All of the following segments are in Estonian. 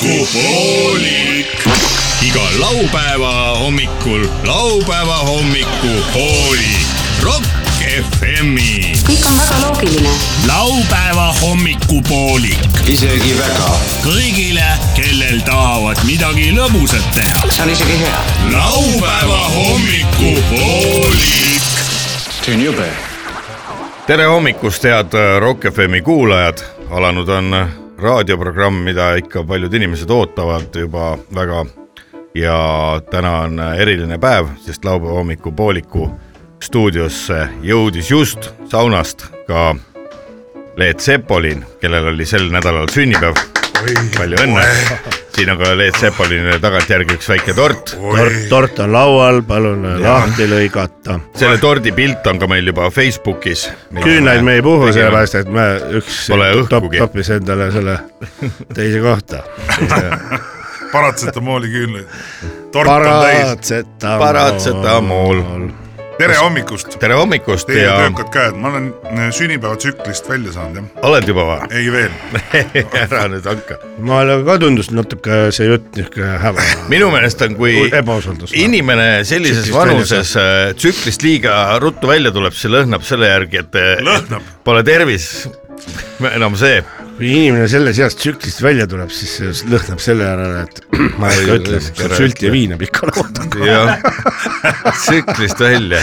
hommikupoolik . iga laupäeva hommikul laupäeva hommikupoolik . Rock FM-i . kõik on väga loogiline . laupäeva hommikupoolik isegi väga . kõigile , kellel tahavad midagi lõbusat teha . see on isegi hea . laupäeva hommikupoolik . see on jube tere hommikust , head äh, Rock FM-i kuulajad . alanud on äh, raadioprogramm , mida ikka paljud inimesed ootavad juba väga . ja täna on äh, eriline päev , sest laupäeva hommikupooliku stuudiosse jõudis just saunast ka Leet Sepolin , kellel oli sel nädalal sünnipäev . palju õnne . siin on ka Leet Sepolinile tagantjärgi üks väike tort . tort , tort on laual , palun lahti lõigata . selle tordi pilt on ka meil juba Facebookis . küünlaid me ei puhu , sellepärast et me üks Pole top õhkugi. toppis endale selle teise kohta . paratsetamoli küünlaid . tort on täis . paratsetamool . Paratsetamool. . tere hommikust . tere hommikust Teie ja töökad käed , ma olen äh, sünnipäevatsüklist välja saanud jah , oled juba või ? ei veel . ära nüüd hakka . ma olen ka tundus natuke see jutt niisugune häma . minu meelest on , kui ebausaldus . inimene sellises Tsüklist vanuses äh, tsüklist liiga ruttu välja tuleb , see lõhnab selle järgi , et äh, Lõhnab. pole tervis enam see . kui inimene selles eas tsüklist välja tuleb , siis see lõhnab selle ära , et ma ei Oi, ütle , tere. sülti ja viina pikka lauda . jah , tsüklist välja .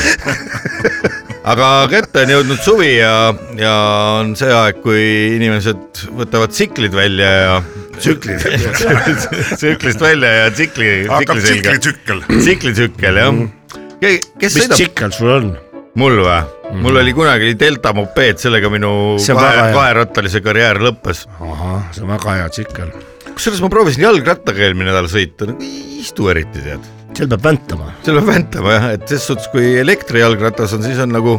aga kätte on jõudnud suvi ja , ja on see aeg , kui inimesed võtavad tsiklid välja ja tsüklid . tsüklist välja ja tsikli , hakkab tsikli selga , tsiklitsükkel . tsiklitsükkel jah . kes Mhm. mis sõidab tsikkel sul on ? mul või mm. ? mul oli kunagi delta mopeed , sellega minu Mhm. See on väga kahe, hea. kaherattalise karjäär lõppes . ahah , see on väga hea tsikkel . kusjuures ma proovisin jalgrattaga eelmine nädal sõita , nagu ei istu eriti tead . seal peab väntama . seal peab väntama jah , et ses suhtes , kui elektrijalgratas on , siis on nagu ,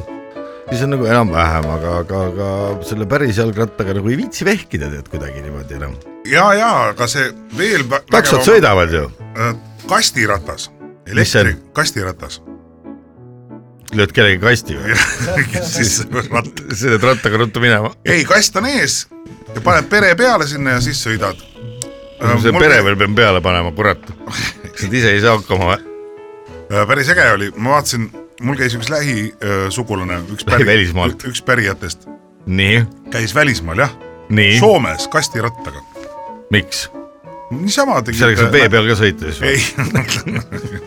siis on nagu enam-vähem , aga , aga , aga selle päris jalgrattaga nagu ei viitsi vehkida tead kuidagi niimoodi enam . ja , ja aga see veel . taksod . sõidavad ju , äh, kastiratas , Mis see on? elektri kastiratas . lööd kellegi kasti või ? siis ratt , sõidad rattaga ruttu minema , ei kast on ees ja paned pere peale sinna ja siis sõidad . Äh, see pere veel peab peale panema , kurat . kas nad ise ei saa hakkama või ? Äh, päris äge oli , ma vaatasin , mul käis üks lähisugulane , üks Lähi- välismaalt. üks pärijatest , nii , käis välismaal jah , nii , Soomes kastirattaga . miks ? niisama tegi . sellega saab vee peal ka sõita siis või ? peal .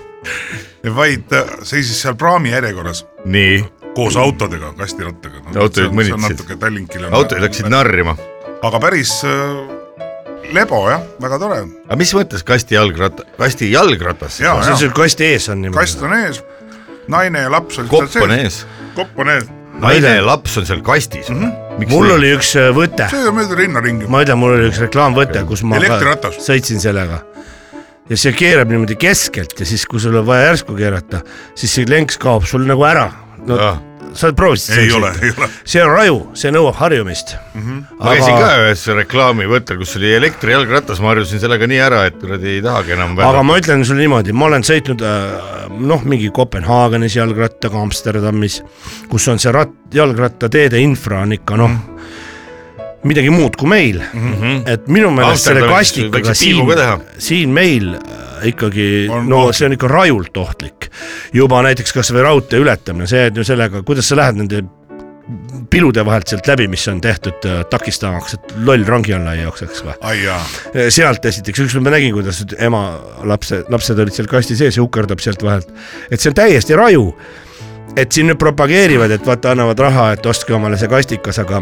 ei , vaid ta seisis seal praami järjekorras nii , Mm. koos autodega , kastirattaga no, . Autojuhid mõnitsesid. natuke Tallinkile . autod läksid . narrima . aga päris äh, lebo jah , väga tore , aga mis mõttes kasti jalgratta , kasti jalgratas ? ja , see on ja sul kasti ees on niimoodi . kast on ees , naine ja laps olid kopp on . ees , kopp on ees , naine ja laps on seal kastis mm . -hmm. Mhm. mul oli üks äh, võte , sööda mööda rinna ringi . ma ütlen , mul oli üks reklaamvõte , kus ma ka Elektriratas. sõitsin sellega . ja see keerab niimoodi keskelt ja siis , kui sul on vaja järsku keerata , siis see lenks kaob sul nagu ära . no Ah. sa proovisid ei ole , ei ole . see on raju , see nõuab harjumist mm . Mhm. ma käisin ka ühes reklaamivõttel , kus oli elektrijalgratas , ma harjusin sellega nii ära , et kuradi ei tahagi enam aga välja . ma ütlen sulle niimoodi , ma olen sõitnud äh, noh , mingi Kopenhaagenis jalgrattaga Amsterdamis , kus on see rat- , jalgrattateede infra on ikka noh , midagi muud kui meil mm . -hmm. et minu meelest selle Mhm. Amsterdamis kastikaga võiks piibu siin ka teha. , siin meil äh, ikkagi On no ohtlik. see on ikka rajult ohtlik . juba näiteks kasvõi raudtee ületamine , see , et ju sellega , kuidas sa lähed nende pilude vahelt sealt läbi , mis on tehtud äh, takistamaks , et loll rongi alla ei jookseks või ? ai jaa Eh, sealt esiteks , ükskord ma nägin , kuidas ema lapse , lapsed olid seal kasti sees ja ukerdab sealt vahelt , et see on täiesti raju . et siin nüüd propageerivad , et vaata , annavad raha , et ostke omale see kastikas , aga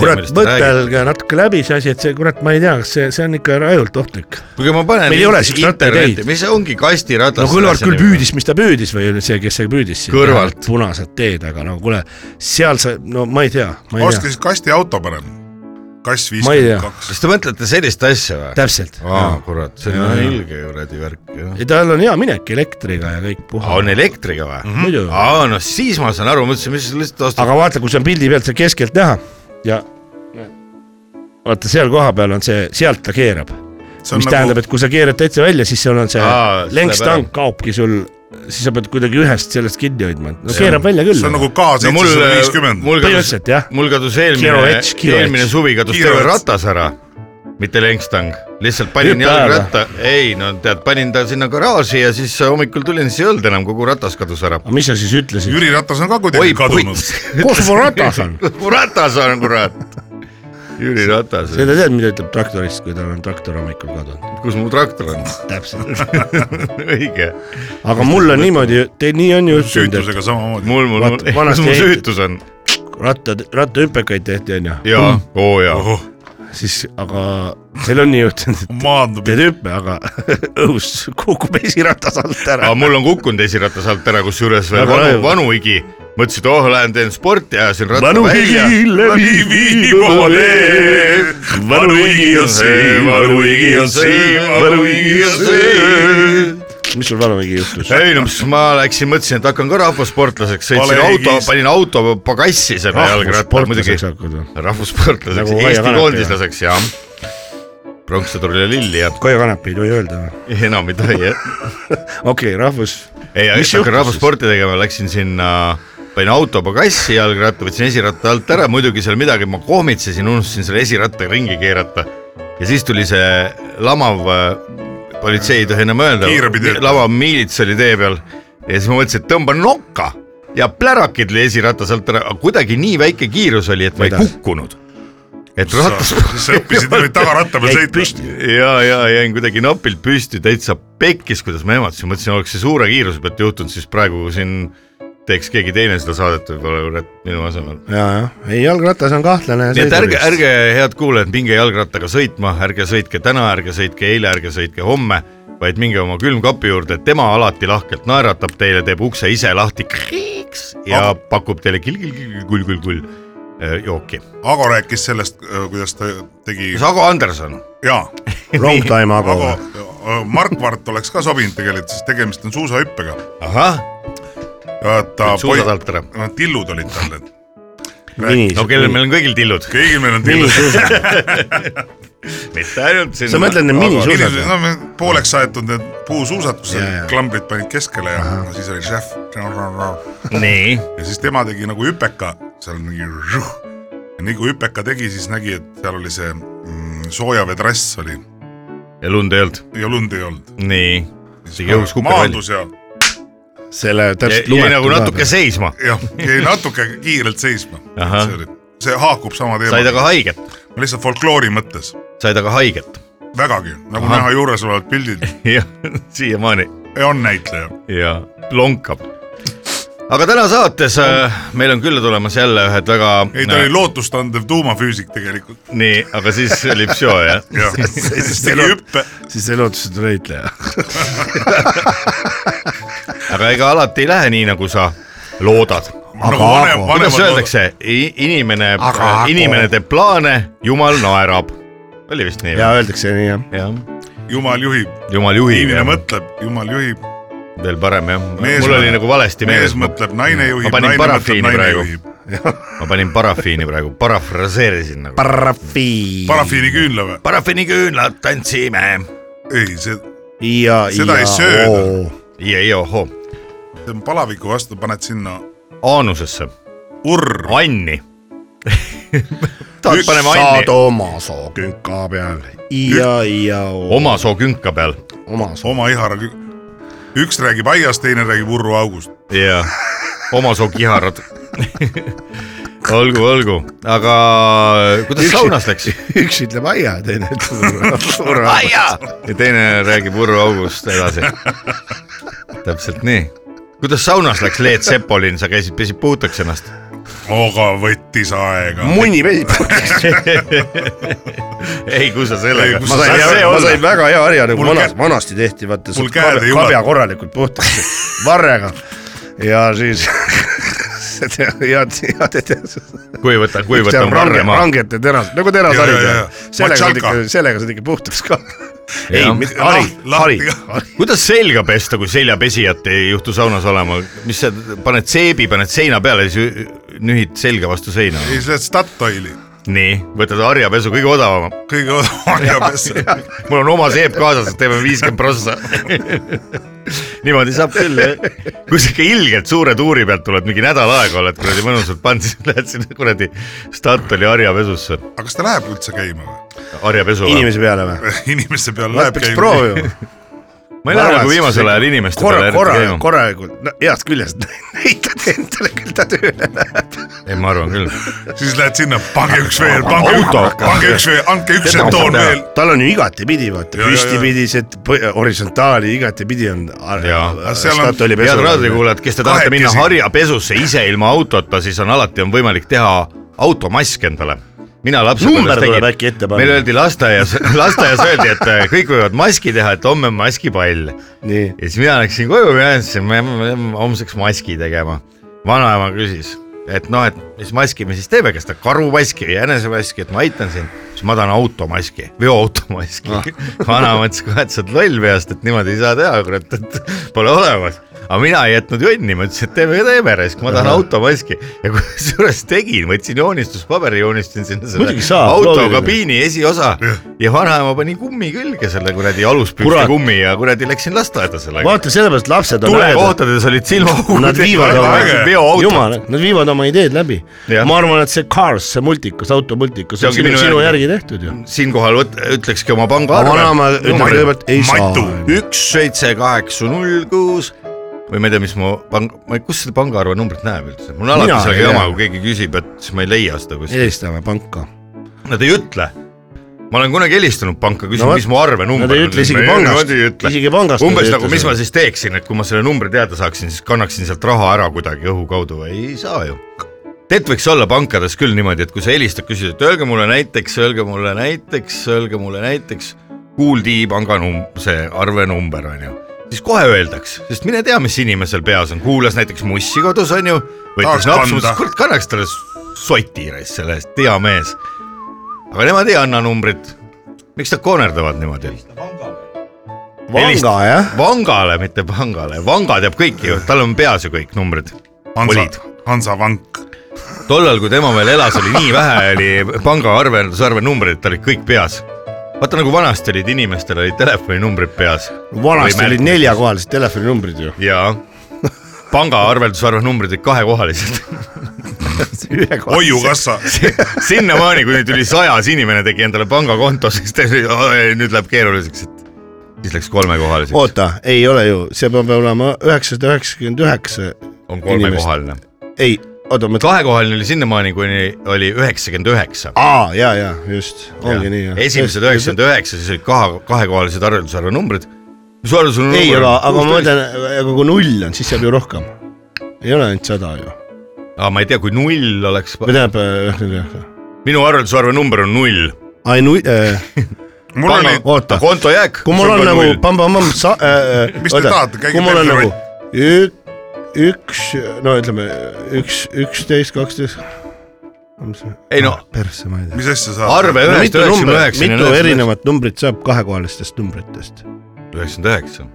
kurat , mõtelge natuke läbi see asi , et see kurat , ma ei tea , kas see , see on ikka rajult ohtlik . kuulge , ma panen . Meil ei ole siukseid rattateid. mis see ongi kastiratas ? no Kõlvart küll . püüdis , mis ta püüdis või oli see , kes see püüdis . Kõrvalt. punased teed , aga no kuule , seal sa , no ma ei tea , ma ei ostke tea , siis kastiauto parem . kass Ma ei tea. viiskümmend kaks . kas te mõtlete sellist asja või ? täpselt . aa , kurat , see Jaa, on jaa. ilge kuradi värk , jah . ja tal on hea minek elektriga ja kõik puha . on elektriga või ? muidu . aa , no siis ma saan aru , mõtlesin , mis sa lihtsalt ostad . aga vaata , kui see on pildi pealt seal keskelt näha ja vaata seal koha peal on see , sealt ta keerab , see mis on nagu... tähendab , nagu , et kui sa keerad täitsa välja , siis sul on see Aa, see läheb lenkstang kaobki sul , siis sa pead kuidagi ühest sellest kinni hoidma , no keerab välja küll see on . nagu K seitsesada viiskümmend . mul kadus põhimõtteliselt jah , mul kadus Kilo eelmine ets, , kilo eelmine ets. suvi kadus Kilo terve ets. ratas ära , mitte lengstang , lihtsalt panin Hüppa ära. jalgratta , ei no tead , panin ta sinna garaaži ja siis äh, hommikul tulin , siis ei olnud enam , kogu ratas kadus ära . aga mis sa siis ütlesid ? Jüri Ratas on ka oi kuidagi kadunud . puits , kus mu ratas on ? mu ratas on kurat . Jüri Ratas , seda tead , mida ütleb traktorist , kui tal on traktor hommikul kadunud ? kus mu traktor on ? täpselt . õige , aga mul on niimoodi , teil nii on ju juhtunud , et süütusega samamoodi . mul , mul , Vaat- mul , kus vanasti mu ehit- süütus on ? rattad , rattahüpekaid tehti , onju , jaa , oo jaa . siis aga teil on nii juhtunud , et maandub . teed hüppe , aga õhus kukub esiratas alt ära aga . mul on kukkunud esiratas alt ära , kusjuures veel Väga vanu raju. , vanu higi . mõtlesin , et oh , lähen teen sporti , ajasin ratta vanu higi välja . läbi viib oma tee , vanu higi on see , vanu higi on see , vanu higi on see . mis sul vanu higi juhtus ? ei no mis ma läksin , mõtlesin , et hakkan ka rahvasportlaseks , sõitsin Vale auto higis. , panin auto pagassi selle jalgratta muidugi rahvussportlaseks . hakkad või ? rahvussportlaseks Nagu nagu , Kaia Eesti Kanepi, koondislaseks ja pronkssõdurile lilli ja koja kanepi ei tohi öelda või ? enam ei tohi jah . okei , rahvus . ei , aga Mis siis hakkan juhtus rahvasporti tegema , läksin sinna , panin auto pagassi jalgratta , võtsin esiratta alt ära , muidugi seal midagi ma kohmitsesin , unustasin selle esiratta ringi keerata . ja siis tuli see lamav , politsei ei tohi enam öelda Kiirabitöötaja. , lamav miilits oli tee peal ja siis ma mõtlesin , et tõmban nokka ja plärakid oli esiratas alt ära , aga kuidagi nii väike kiirus oli , et ma ei Kuidas? kukkunud . et ratas sa õppisid nüüd tagaratta peal jäid sõitma . püsti . ja , ja jäin kuidagi napilt püsti , täitsa pekkis , kuidas ma ehmatasin , mõtlesin , oleks see suure kiiruse pealt juhtunud , siis praegu siin teeks keegi teine seda saadet võib-olla kurat minu asemel . ja , jah , ei jalgratas on kahtlane . nii et ärge , ärge , head kuulajad , minge jalgrattaga sõitma , ärge sõitke täna , ärge sõitke eile , ärge sõitke homme , vaid minge oma külmkapi juurde , tema alati lahkelt naeratab teile , teeb ukse ise lahti kriiks ja Ah. Aga- pakub teile kilgilgilgilgulgulgull äh, jooki . Ago rääkis sellest , kuidas ta tegi , Sago Anderson , jaa , Long time ago Ago . Markvart oleks ka sobinud tegelikult , sest tegemist on suusahüppega . ahah , Ah, ta suusad , alt ära . no tillud olid tal , et nii no , kellel meil on kõigil tillud , kõigil meil on tillud . minisuusad , mitte ainult siin . sa mõtled need minisuusad või ? no me pooleks aetud need puusuusad , kus Jaa, jaa. klambrid panid keskele ja no siis oli šef . ja nii siis tema tegi nagu hüpeka , seal mingi . ja nii kui hüpeka tegi , siis nägi , et seal oli see mm, soojaveetrass oli ja lund ei olnud . ja lund ei olnud . nii . Tegi õhus kukervalli . Ah, maandus ja , selle täpselt jäi nagu natuke ka . seisma , jah , jäi natuke kiirelt seisma . Ahah. see haakub sama said aga teemaga , haiget , lihtsalt folkloori mõttes , said aga haiget . vägagi , nagu Ahah. näha juuresolevalt pildil jah , siiamaani on näitleja . ja lonkab . aga täna saates äh, meil on külla tulemas jälle ühed väga . ei , ta oli lootustandev tuumafüüsik tegelikult . nii , aga siis oli psühho jah . jah , siis tegi hüppe . siis ei lootusetu näitleja . aga ega alati ei lähe nii , nagu sa loodad . nagu Aga vanem , Ago. vanemad kuidas . öeldakse , inimene äh, Aga- , inimene teeb plaane , jumal naerab . oli vist nii ? ja öeldakse nii jah . jah , jumal juhib , jumal juhib inimene . mõtleb , jumal juhib , veel parem jah , Mees mul oli mõtleb- nagu valesti mees meeles . mõtleb , naine ma juhib , panin naine mõtleb , parafiini naine praegu. juhib . ma panin parafiini praegu , parafraseerisin nagu . parafiin . parafiini küünla või ? parafiini küünlad tantsime . ei , see , ja , Seda ja . ei sööda. . IEIOH , see on palaviku vastu , paned sinna aanusesse , urr , anni . tahad paneme saad anni oma soo künka peal . ja , ja . oma soo künka peal oma soo . oma ihara . üks räägib aiast , teine räägib urruaugust . ja oma soo kiharad . olgu , olgu , aga kuidas saunas läks ? üks ütleb aia , teine ütleb surra . aia . ja teine räägib Urvo August edasi . täpselt nii . kuidas saunas läks , Leet Sepolin , sa käisid , pesid puhtaks ennast ? aga võttis aega . munni pesib . ei , kus sa sellega Ei, . kus ma sain See hea , ma olla. sain väga hea harja nagu Mul vanas , kä- vanasti tehti , vaata mul sealt käed ei kabja, ulatu- kabja korralikult puhtaks varrega ja siis ja , ja , ja kuivata , kuivata on varre maha . rangete teras , nagu terasharid Ja, ja, ja. . sellega saad Matšalka. ikka , sellega saad ikka puhtaks ka . ei Jah. , hari , hari Lahti ka. . kuidas selga pesta , kui seljapesijat ei juhtu saunas olema , mis sa paned seebi , paned seina peale , siis ü- nühid selga vastu seina . ei , see on Statoili . nii , võtad harjapesu kõige odavama . kõige odavam ja pesa . mul on oma seep kaasas , teeme viiskümmend prossa . niimoodi saab küll jah . kui sa ikka ilgelt suure tuuri pealt tuled , mingi nädal aega oled kuradi mõnusalt pannud , siis lähed sinna kuradi Statoili harjapesusse , aga kas ta läheb üldse käima või ? harjapesu . inimese peale või ? inimeste peale Nad läheb peaks käima . proovima . ma ei lähe nagu viimasel ajal inimeste korra , peale korra eriti , käima . korralikult , no heast küljest näitad endale , küll ta tööle läheb . ei , ma arvan küll . siis lähed sinna , pange üks veel , pange üks , pange üks veel , andke üks Seda žetoon saab teha. veel . tal on ju igatepidi , vaata , Ja, ja, ja. püstipidised , horisontaali , igatepidi on . Jaa. seal on- head raadiokuulajad , kes te tahate minna Kahekesi. harjapesusse ise ilma autota , siis on alati on võimalik teha automask endale . mina Number lapsepõlves tuleb äkki ette tegin , panna. meil öeldi lasteaias , lasteaias öeldi , et äh, kõik võivad maski teha , et homme on maskipall . nii , ja siis mina läksin koju ja ütlesin , me peame homseks maski tegema . vanaema küsis , et noh , et mis maski me siis teeme , kas ta karumaski või jänesemaski , et ma aitan sind . siis ma tahan automaski , veoautomaski ah. . vanaema ütles kohe , et sa oled loll peast , et niimoodi ei saa teha , kurat , et pole olemas . aga mina ei jätnud jonni , ma ütlesin , et teeme , teeme raisk , ma tahan automaski ja kusjuures tegin , võtsin joonistuspaberi , joonistasin sinna selle Muidugi saab, loogiline. autokabiini esiosa ja vanaema pani kummi külge selle kuradi aluspükste Kurat. kummi ja kuradi läksin lasteaeda sellega vaata sellepärast lapsed on ägedad . tulekohtades olid silmaaugud . Nad viivad oma , veoautod . jumala , nad viivad oma ideed läbi Jah. . ma arvan , et see Cars , see multikas , automultikas See on ongi sinu, minu sinu järgi. järgi tehtud ju . siinkohal võt- , ütlekski oma vanaema pangaarve . ütleb kõigepealt ei saa . Matu. üks , seitse , kaheksa , null , kuus või ma ei tea , mis mu pang- , ma ei , kus seda pangaarve numbrit näeb üldse , mul on alati Mina ei sellega jama tea. , kui keegi küsib , et siis ma ei leia seda kuskilt , helistame panka . nad ei ütle ma olen kunagi helistanud panka , küsinud No no, , vot. mis mu arvenumber Nad ei ütle isegi pangast. Isegi pangast nad umbes ei nagu , ütle mis seda. ma siis teeksin , et kui ma selle numbri teada saaksin , siis kannaksin sealt raha ära kuidagi õhu kaudu või ei saa ju . tegelikult võiks olla pankades küll niimoodi , et kui sa helistad , küsid , et öelge mulle näiteks , öelge mulle näiteks , öelge mulle näiteks , kuuldi panga num- , see arvenumber on ju siis kohe öeldakse , sest mine tea , mis inimesel peas on , kuulas näiteks Mussi kodus on ju , Tahaks võttis napsu , kanda. mõtles , kurat kannaks talle soti raisk selle eest , hea mees aga nemad ei anna numbrit . miks nad koonerdavad niimoodi ? vanga jah , vangale , mitte pangale , vanga teab kõiki ju , tal on peas ju kõik numbrid . Hansa olid ., Hansavank . tollal , kui tema veel elas , oli nii vähe , oli pangaarveldusarve numbrid , tal olid kõik peas . vaata nagu vanasti olid inimestel olid telefoninumbrid peas . vanasti olid . neljakohalised telefoninumbrid ju , jaa , pangaarveldusarve numbrid olid kahekohalised . hoiukassa . sinnamaani , kui nüüd üli sajas inimene tegi endale pangakonto , siis ta oli , nüüd läheb keeruliseks , et siis läks kolmekohaliseks . oota , ei ole ju , see peab olema üheksasada üheksakümmend üheksa , on kolmekohaline . ei , oota ma , kahekohaline oli sinnamaani , kuni oli üheksakümmend üheksa . aa ja , ja just , ongi nii jah . esimesed üheksakümmend üheksa , siis olid kahe , kahekohalised arveldusarve numbrid . mis arv sul on ? ei , aga , aga ma . mõtlen , aga kui null on , siis jääb ju rohkem . ei ole ainult sada ju , aa , ma ei tea , kui null oleks , või tähendab äh, üheksakümmend üheksa . minu arveldusarve number on null . ai null äh, , mul oli , oota , konto jääk . kui mul on nagu . pamm-pamm-pamm , sa äh, , Mis te tahate, käige kui mul on Peterburis. nagu ük- , üks , no ütleme üks , üksteist , kaksteist . Ei no- persse ma ei tea . mis asja sa arve ühest mitu üheksakümne numbrit , üheksani . mitu . erinevat numbrit saab kahekohalistest numbritest ? üheksakümmend üheksa .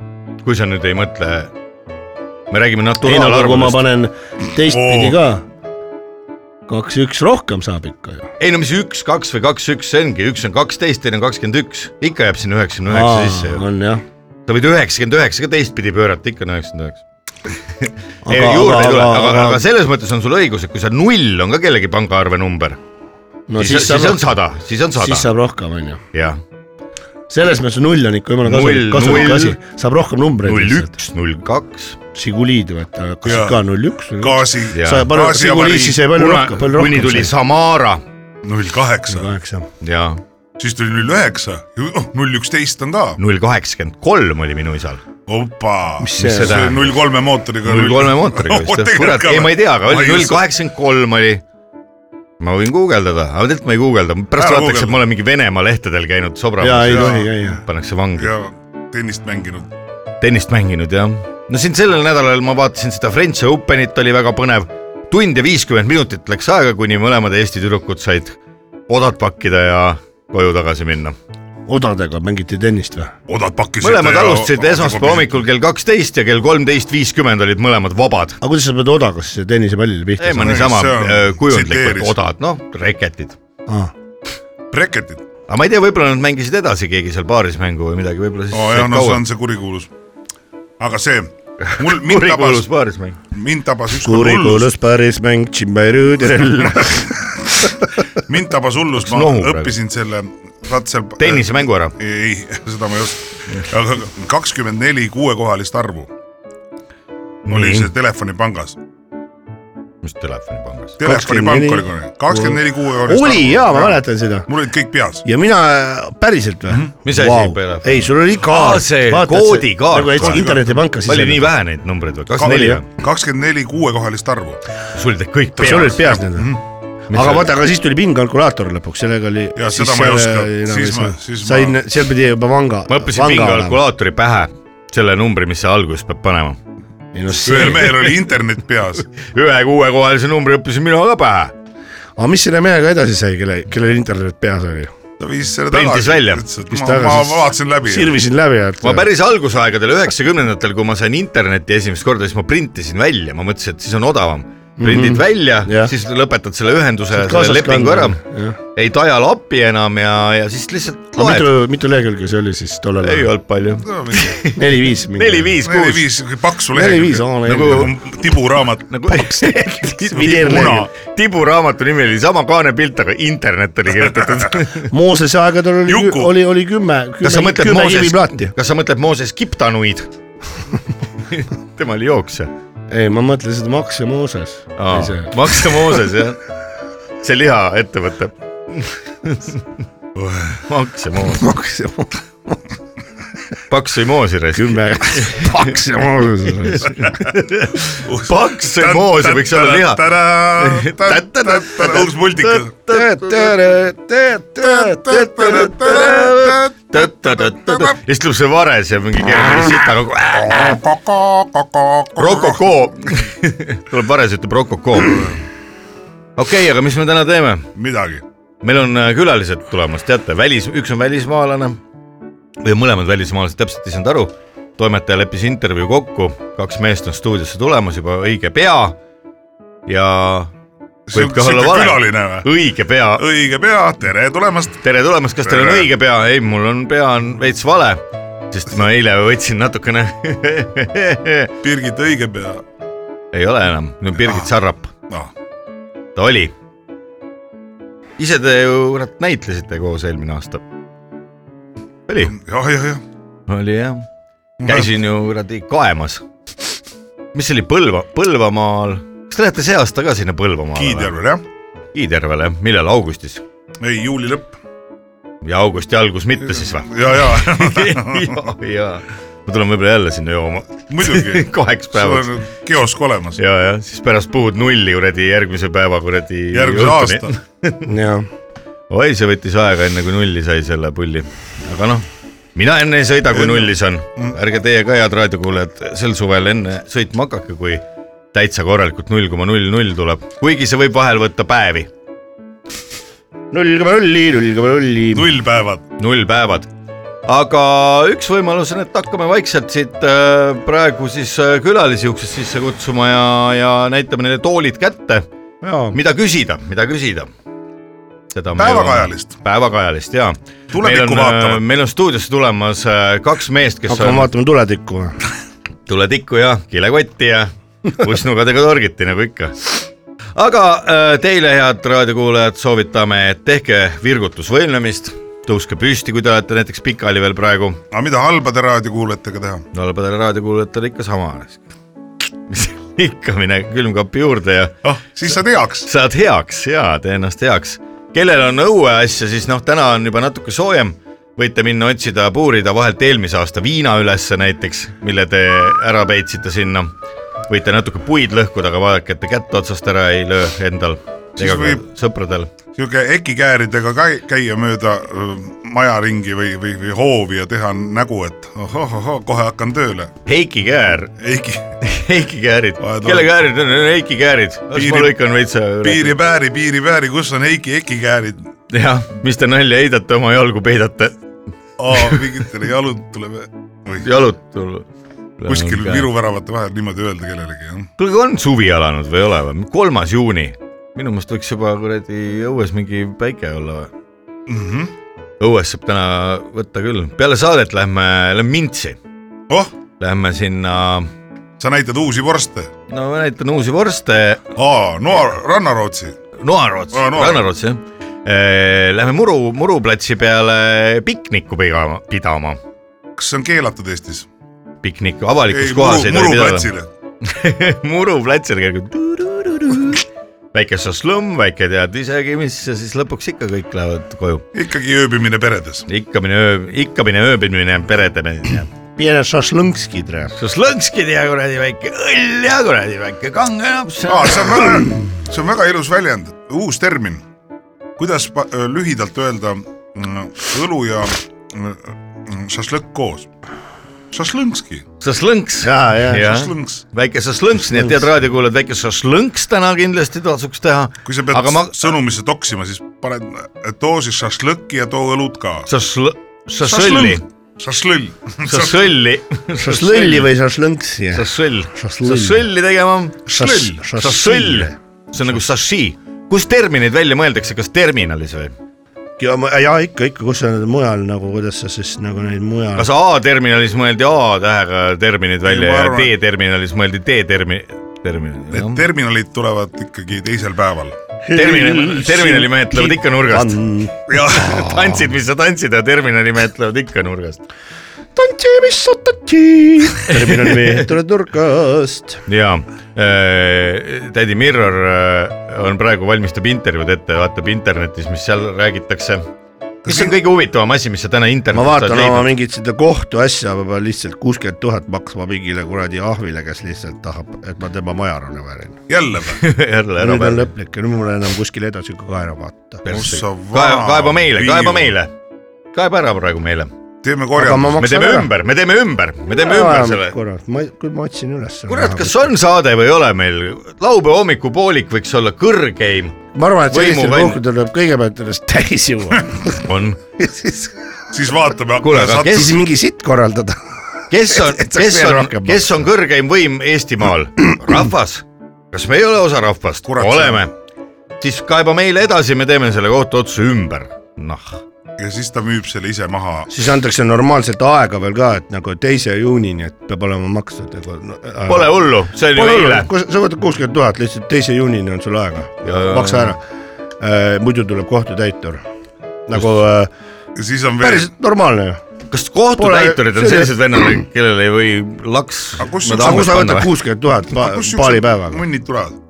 kui sa nüüd ei mõtle , me räägime ei no aga kui ma naturaalarvust . panen teistpidi ka , kaks , üks rohkem saab ikka ju . ei no mis üks , kaks või kaks , üks , see ongi , üks on kaksteist , teine on kakskümmend üks , ikka jääb sinna üheksakümne üheksa sisse ju . on jah . sa võid üheksakümmend üheksa ka teistpidi pöörata , ikka on üheksakümmend üheksa . ei Aga- juurde ei aga- tule , aga , aga- aga selles mõttes on sul õigus , et kui sa null on ka kellegi pangaarve number , no siis, siis siis on saab , sada , siis on siis sada , saab rohkem on ju . jah . selles mõttes null on ikka jumala Null, kasulik , kasulik null. asi , saab rohkem numbreid null . üks , null kaks , Žigulid vaata , kas Jaa. ka null üks ? gaasi Jaa. sa paned Gaasi avarii. Žigulid , siis jäi palju rohkem , palju rohkem . kuni tuli Samara null kaheksa , kaheksa . ja siis tuli null üheksa , null üksteist on ka . null kaheksakümmend kolm oli minu isal . opa , Mis see tähendab? null kolme mootoriga . null kolme mootoriga vist jah , kurat , ei ma ei tea , aga oli null . kaheksakümmend kolm oli . ma võin guugeldada , aga tegelikult ma ei guugelda , pärast Ära vaadatakse , et guugelda. ma olen mingi Venemaa lehtedel käinud ja ei sobramas , tohi käia . pannakse vangi . ja tennist mänginud , tennist mänginud jah . no siin sellel nädalal ma vaatasin seda French Openit , oli väga põnev . tund ja viiskümmend minutit läks aega , kuni mõlemad Eesti tüdrukud said odad pakkida ja koju tagasi minna . odadega mängiti tennist või ? odad pakkisid . mõlemad alustasid esmaspäeva . hommikul kell kaksteist ja kell kolmteist viiskümmend olid mõlemad vabad . aga kuidas sa pead odaga siis tennise pallile pihta ei , ma saama ? niisama see on- äh, kujundlikult tsiteeris. odad , noh , reketid . ah. . Breketid aga ma ei tea , võib-olla nad mängisid edasi keegi seal baaris mängu või midagi , võib-olla siis oh, . jah , no see on see kurikuulus . aga see , mul , mind kurikuulus tabas , baaris mäng . mind tabas ükskord hullus , kurikuulus päris mäng , mind tabas hullus , ma nohu praegu? õppisin selle , vaat seal . tennisemängu ära . ei , seda ma ei oska . aga kakskümmend neli kuuekohalist arvu oli see telefonipangas . mis telefonipangas . telefonipank 24 oli kunagi , kakskümmend neli kuuekohalist . oli jaa , ma . mäletan seda . mul olid kõik peas . ja mina äh, päriselt või mm ? -hmm. Mhm. Mis asi peale- ei , sul oli Aa, kaart . see koodikaart. nagu Koodikaart. Eesti internetipanka siis palju nii . vähe neid numbreid või ? kakskümmend neli või ? kakskümmend neli kuuekohalist arvu . sul olid kõik peas . Mhm. sul olid peas need või ? aga vaata , aga siis tuli PIN-kalkulaator lõpuks , sellega oli . äh, Jaa, seda ma ei oska. Siis ma- siis ma- sain , seal pidi juba vanga . ma õppisin pingekalkulaatori pähe , selle numbri , mis sa alguses pead panema . ühel mehel oli internet peas . ühe kuuekohalise numbri õppisin mina ka pähe . aga mis selle mehega edasi sai , kelle , kellel internet peas oli ? ta viis selle Printis tagasi . välja. Mis ma , tagasi ma siis- vaatasin läbi . sirvisin läbi , et ma päris algusaegadel , üheksakümnendatel , kui ma sain internetti esimest korda , siis ma printisin välja , ma mõtlesin , et siis on odavam . prindid mm -hmm. välja Mhm. Jah. yeah. , siis lõpetad selle ühenduse , kaasas selle lepingu ära kanda. Jah. , ei tajal appi enam ja , ja siis lihtsalt Aga loed . mitu , mitu lehekülge see oli siis tollal ? ei olnud palju . neli-viis . neli-viis , kuus . neli-viis paksu Neli-viis, aa, lehekülge , neli- nagu tiburaamat . nagu Muna. tiburaamatu nimi oli sama kaanepilt , aga internet oli kirjutatud . Moosese aegadel oli Juku. , oli , oli kümme , kas sa kümme , mõtled kümme Mooses kiviplaati ., kas sa mõtled Mooses Kiptanuid ? tema oli jooksja . ei , ma mõtlen seda Max ja Mooses . maksa Mooses jah , see lihaettevõte . maksa Mooses , Max ja Mooses . paks või moosi raisk . kümme , Max ja Mooses . paks või moosi võiks olla liha . uus multikas . ja siis tuleb see vares ja mingi keerab Ah. sita nagu, kogu . rokoko tuleb vares , ütleb rokoko . okei , aga mis me täna teeme ? midagi . meil on äh, külalised tulemas , teate , välis , üks on välismaalane või mõlemad välismaalased , täpselt ei saanud aru . toimetaja leppis intervjuu kokku , kaks meest on stuudiosse tulemas juba õige pea ja võib ka olla vale külaline või ?. õige pea , õige pea , tere tulemast . tere tulemast , kas teil on Tere. õige pea ? ei , mul on pea on veits vale , sest ma eile võtsin natukene . Birgit õige pea . ei ole enam , nüüd on Birgit Sarrap , noh , ta oli . ise te ju kurat näitlesite koos eelmine aasta . oli ? jah , jah , jah . oli jah , käisin ju kuradi kaemas . mis see oli Põlva , Põlvamaal , kas te lähete see aasta ka sinna Põlvamaale ? Kiidjärvel jah ? Kiidjärvele jah , millal augustis ei , juuli lõpp . ja augusti algus mitte siis või ? ja , ja , ja , ja ma tulen võib-olla jälle sinna jooma muidugi . kaheks sul päevaks on kiosk olemas . ja , ja siis pärast puhud nulli kuradi järgmise päeva kuradi . järgmise aasta . jah , oi , see võttis aega , enne kui nulli sai selle pulli , aga noh , mina enne ei sõida , kui nullis on , ärge teie ka , head raadiokuulajad , sel suvel enne sõitma hakake , kui täitsa korralikult null koma null null tuleb , kuigi see võib vahel võtta päevi , null koma nulli , null koma nulli . null päevad . null päevad . aga üks võimalus on , et hakkame vaikselt siit äh, praegu siis äh, külalisi uksest sisse kutsuma ja , ja näitame neile toolid kätte , mida küsida , mida küsida . Päevakajalist. . päevakajalist ja . meil Tulevikku on, äh, vaatavat. meil on stuudiosse tulemas äh, kaks meest , kes hakkame on vaatama tuletikku või ? tuletikku ja kilekotti ja pussnugadega torgiti nagu ikka . aga äh, teile , head raadiokuulajad , soovitame , et tehke virgutusvõimlemist , tõuske püsti , kui te olete näiteks pikali veel praegu , aga mida halbade raadiokuulajatega teha ? halbadele raadiokuulajatele ikka sama . ikka mine külmkapi juurde ja ah , siis sa teaks . saad heaks ja tee ennast heaks . kellel on õueasja , siis noh , täna on juba natuke soojem , võite minna otsida , puurida vahelt eelmise aasta viina ülesse näiteks , mille te ära peitsite sinna . võite natuke puid lõhkuda , aga vaadake , et te kätt otsast ära ei löö endal Siis ega ka võib- sõpradel . sihuke ekikääridega käi- käia mööda öö, maja ringi või , või , või hoovi ja teha nägu , et ohohoho , kohe hakkan tööle . Heiki Käär , Eiki , Heiki Käärid Vahet , kelle on. käärid on , Heiki Käärid , las ma Piiri- lõikan veits . piiripääri , piiripääri , kus on Eiki ekikäärid ? jah , mis te nalja heidate , oma jalgu peidate , aa , mingitele jalud tuleb või jalud tul- kuskil Viru väravate vahel niimoodi öelda kellelegi , jah . kuulge , on suvi alanud või ei ole või ? kolmas juuni , minu meelest võiks juba kuradi õues mingi päike olla või ? mm . -hmm. õues saab täna võtta küll , peale saadet lähme , lähme Mintsi , oh , lähme sinna , sa näitad uusi vorste . no ma näitan uusi vorste , aa , noa , Rannarootsi . Noarots , Aa, Noarots. Rannarots jah . Lähme Muru , Muruplatsi peale pikniku pigama, pidama , kas see on keelatud Eestis ? pikniku avalikus ei , kohas Muru , ei tohi Muru pidada . platsile . Muru platsil käib väike šašlõmm , väike tead isegi , mis ja siis lõpuks ikka kõik lähevad koju . ikkagi ööbimine peredes . ikkamine öö , ikkamine ööbimine peredena . Pjene šašlõnkski treb . šašlõnkskid ja kuradi väike õll ja kuradi väike kange noh. laps . aa , see on väga , see on väga ilus väljend , uus termin . kuidas pa- öö, lühidalt öelda mm, õlu ja mm, mm, šašlõkk koos ? šašlõnkski , šašlõnks . Jaa, jaa. šašlõnks . väike šašlõnks , nii et head raadiokuulajad , väike šašlõnks täna kindlasti tasuks teha . kui sa pead aga ma sõnumisse toksima , siis paned , too siis šašlõkki ja too õlut ka . šašl- , šašõlli , šašlõll . šašõlli , šašlõlli või šašlõnksi . šašõll , Šašlõll. šašõlli tegema , Šaš- šašõll , see on nagu šaši . kus terminid välja mõeldakse , kas terminalis või ? ja , ja ikka , ikka , kus on mujal nagu , kuidas sa siis nagu neid mujal kas . A-terminalis mõeldi A-tähega terminid välja ma ja arvan, et- D-terminalis mõeldi D-termi- , terminali Need . terminalid tulevad ikkagi teisel päeval . terminali , terminalimehed tulevad ikka nurgast . tantsid , mis sa tantsid , aga terminalimehed tulevad ikka nurgast . tantsi , mis sa tantsi . terminalimehed tulevad nurgast . jaa , tädi Mirror äh, on praegu , valmistab intervjuud ette , vaatab internetis , mis seal räägitakse . mis on kõige huvitavam asi , mis sa täna ma internetis vaatan oma mingit seda kohtuasja , ma pean lihtsalt kuuskümmend tuhat maksma mingile kuradi ahvile , kes lihtsalt tahab , et ma tema maja ära väärin . jälle või ? jälle ära nüüd on peale . lõplik ja nüüd mul enam kuskile edasi ka ära vaata . Ossa vana kaeba meile , kaeba viiu. meile , kaeba ära praegu meile , aga teeme ma korjanduse . me maksan teeme ära . ümber , me teeme ümber , me teeme ümber selle . korra , ma , küll ma otsin üles . kurat , kas on saade või ei ole meil , laupäeva hommikupoolik võiks olla kõrgeim , ma arvan , et Võimu sellistel vaim- puhkudel tuleb kõigepealt ennast täis juua on , ja siis , siis vaatame . Kuule, aga kes- siis mingi sitt korraldada . kes on , Et saaks kes veel on rohkem , kes on kõrgeim võim Eestimaal , rahvas , kas me ei ole osa rahvast , Kurat, oleme , siis kaeba meile edasi , me teeme selle kohtuotsuse ümber , noh , ja siis ta müüb selle ise maha . siis antakse normaalselt aega veel ka , et nagu teise juunini , et peab olema makstud nagu no, . pole . hullu , see on Pole ju hullu eile ,, sa võtad kuuskümmend tuhat lihtsalt teise juunini on sul aega Ja, ja, , maksa ja. ära . muidu tuleb kohtutäitur nagu äh, ja siis on veel . päris normaalne ju . kas kohtutäiturid on see- sellised vennad , kellel ei või laks Aga kus- nad aga kui hammas sa panna võtad või? kuuskümmend tuhat paari päevaga , mõnnid tulevad .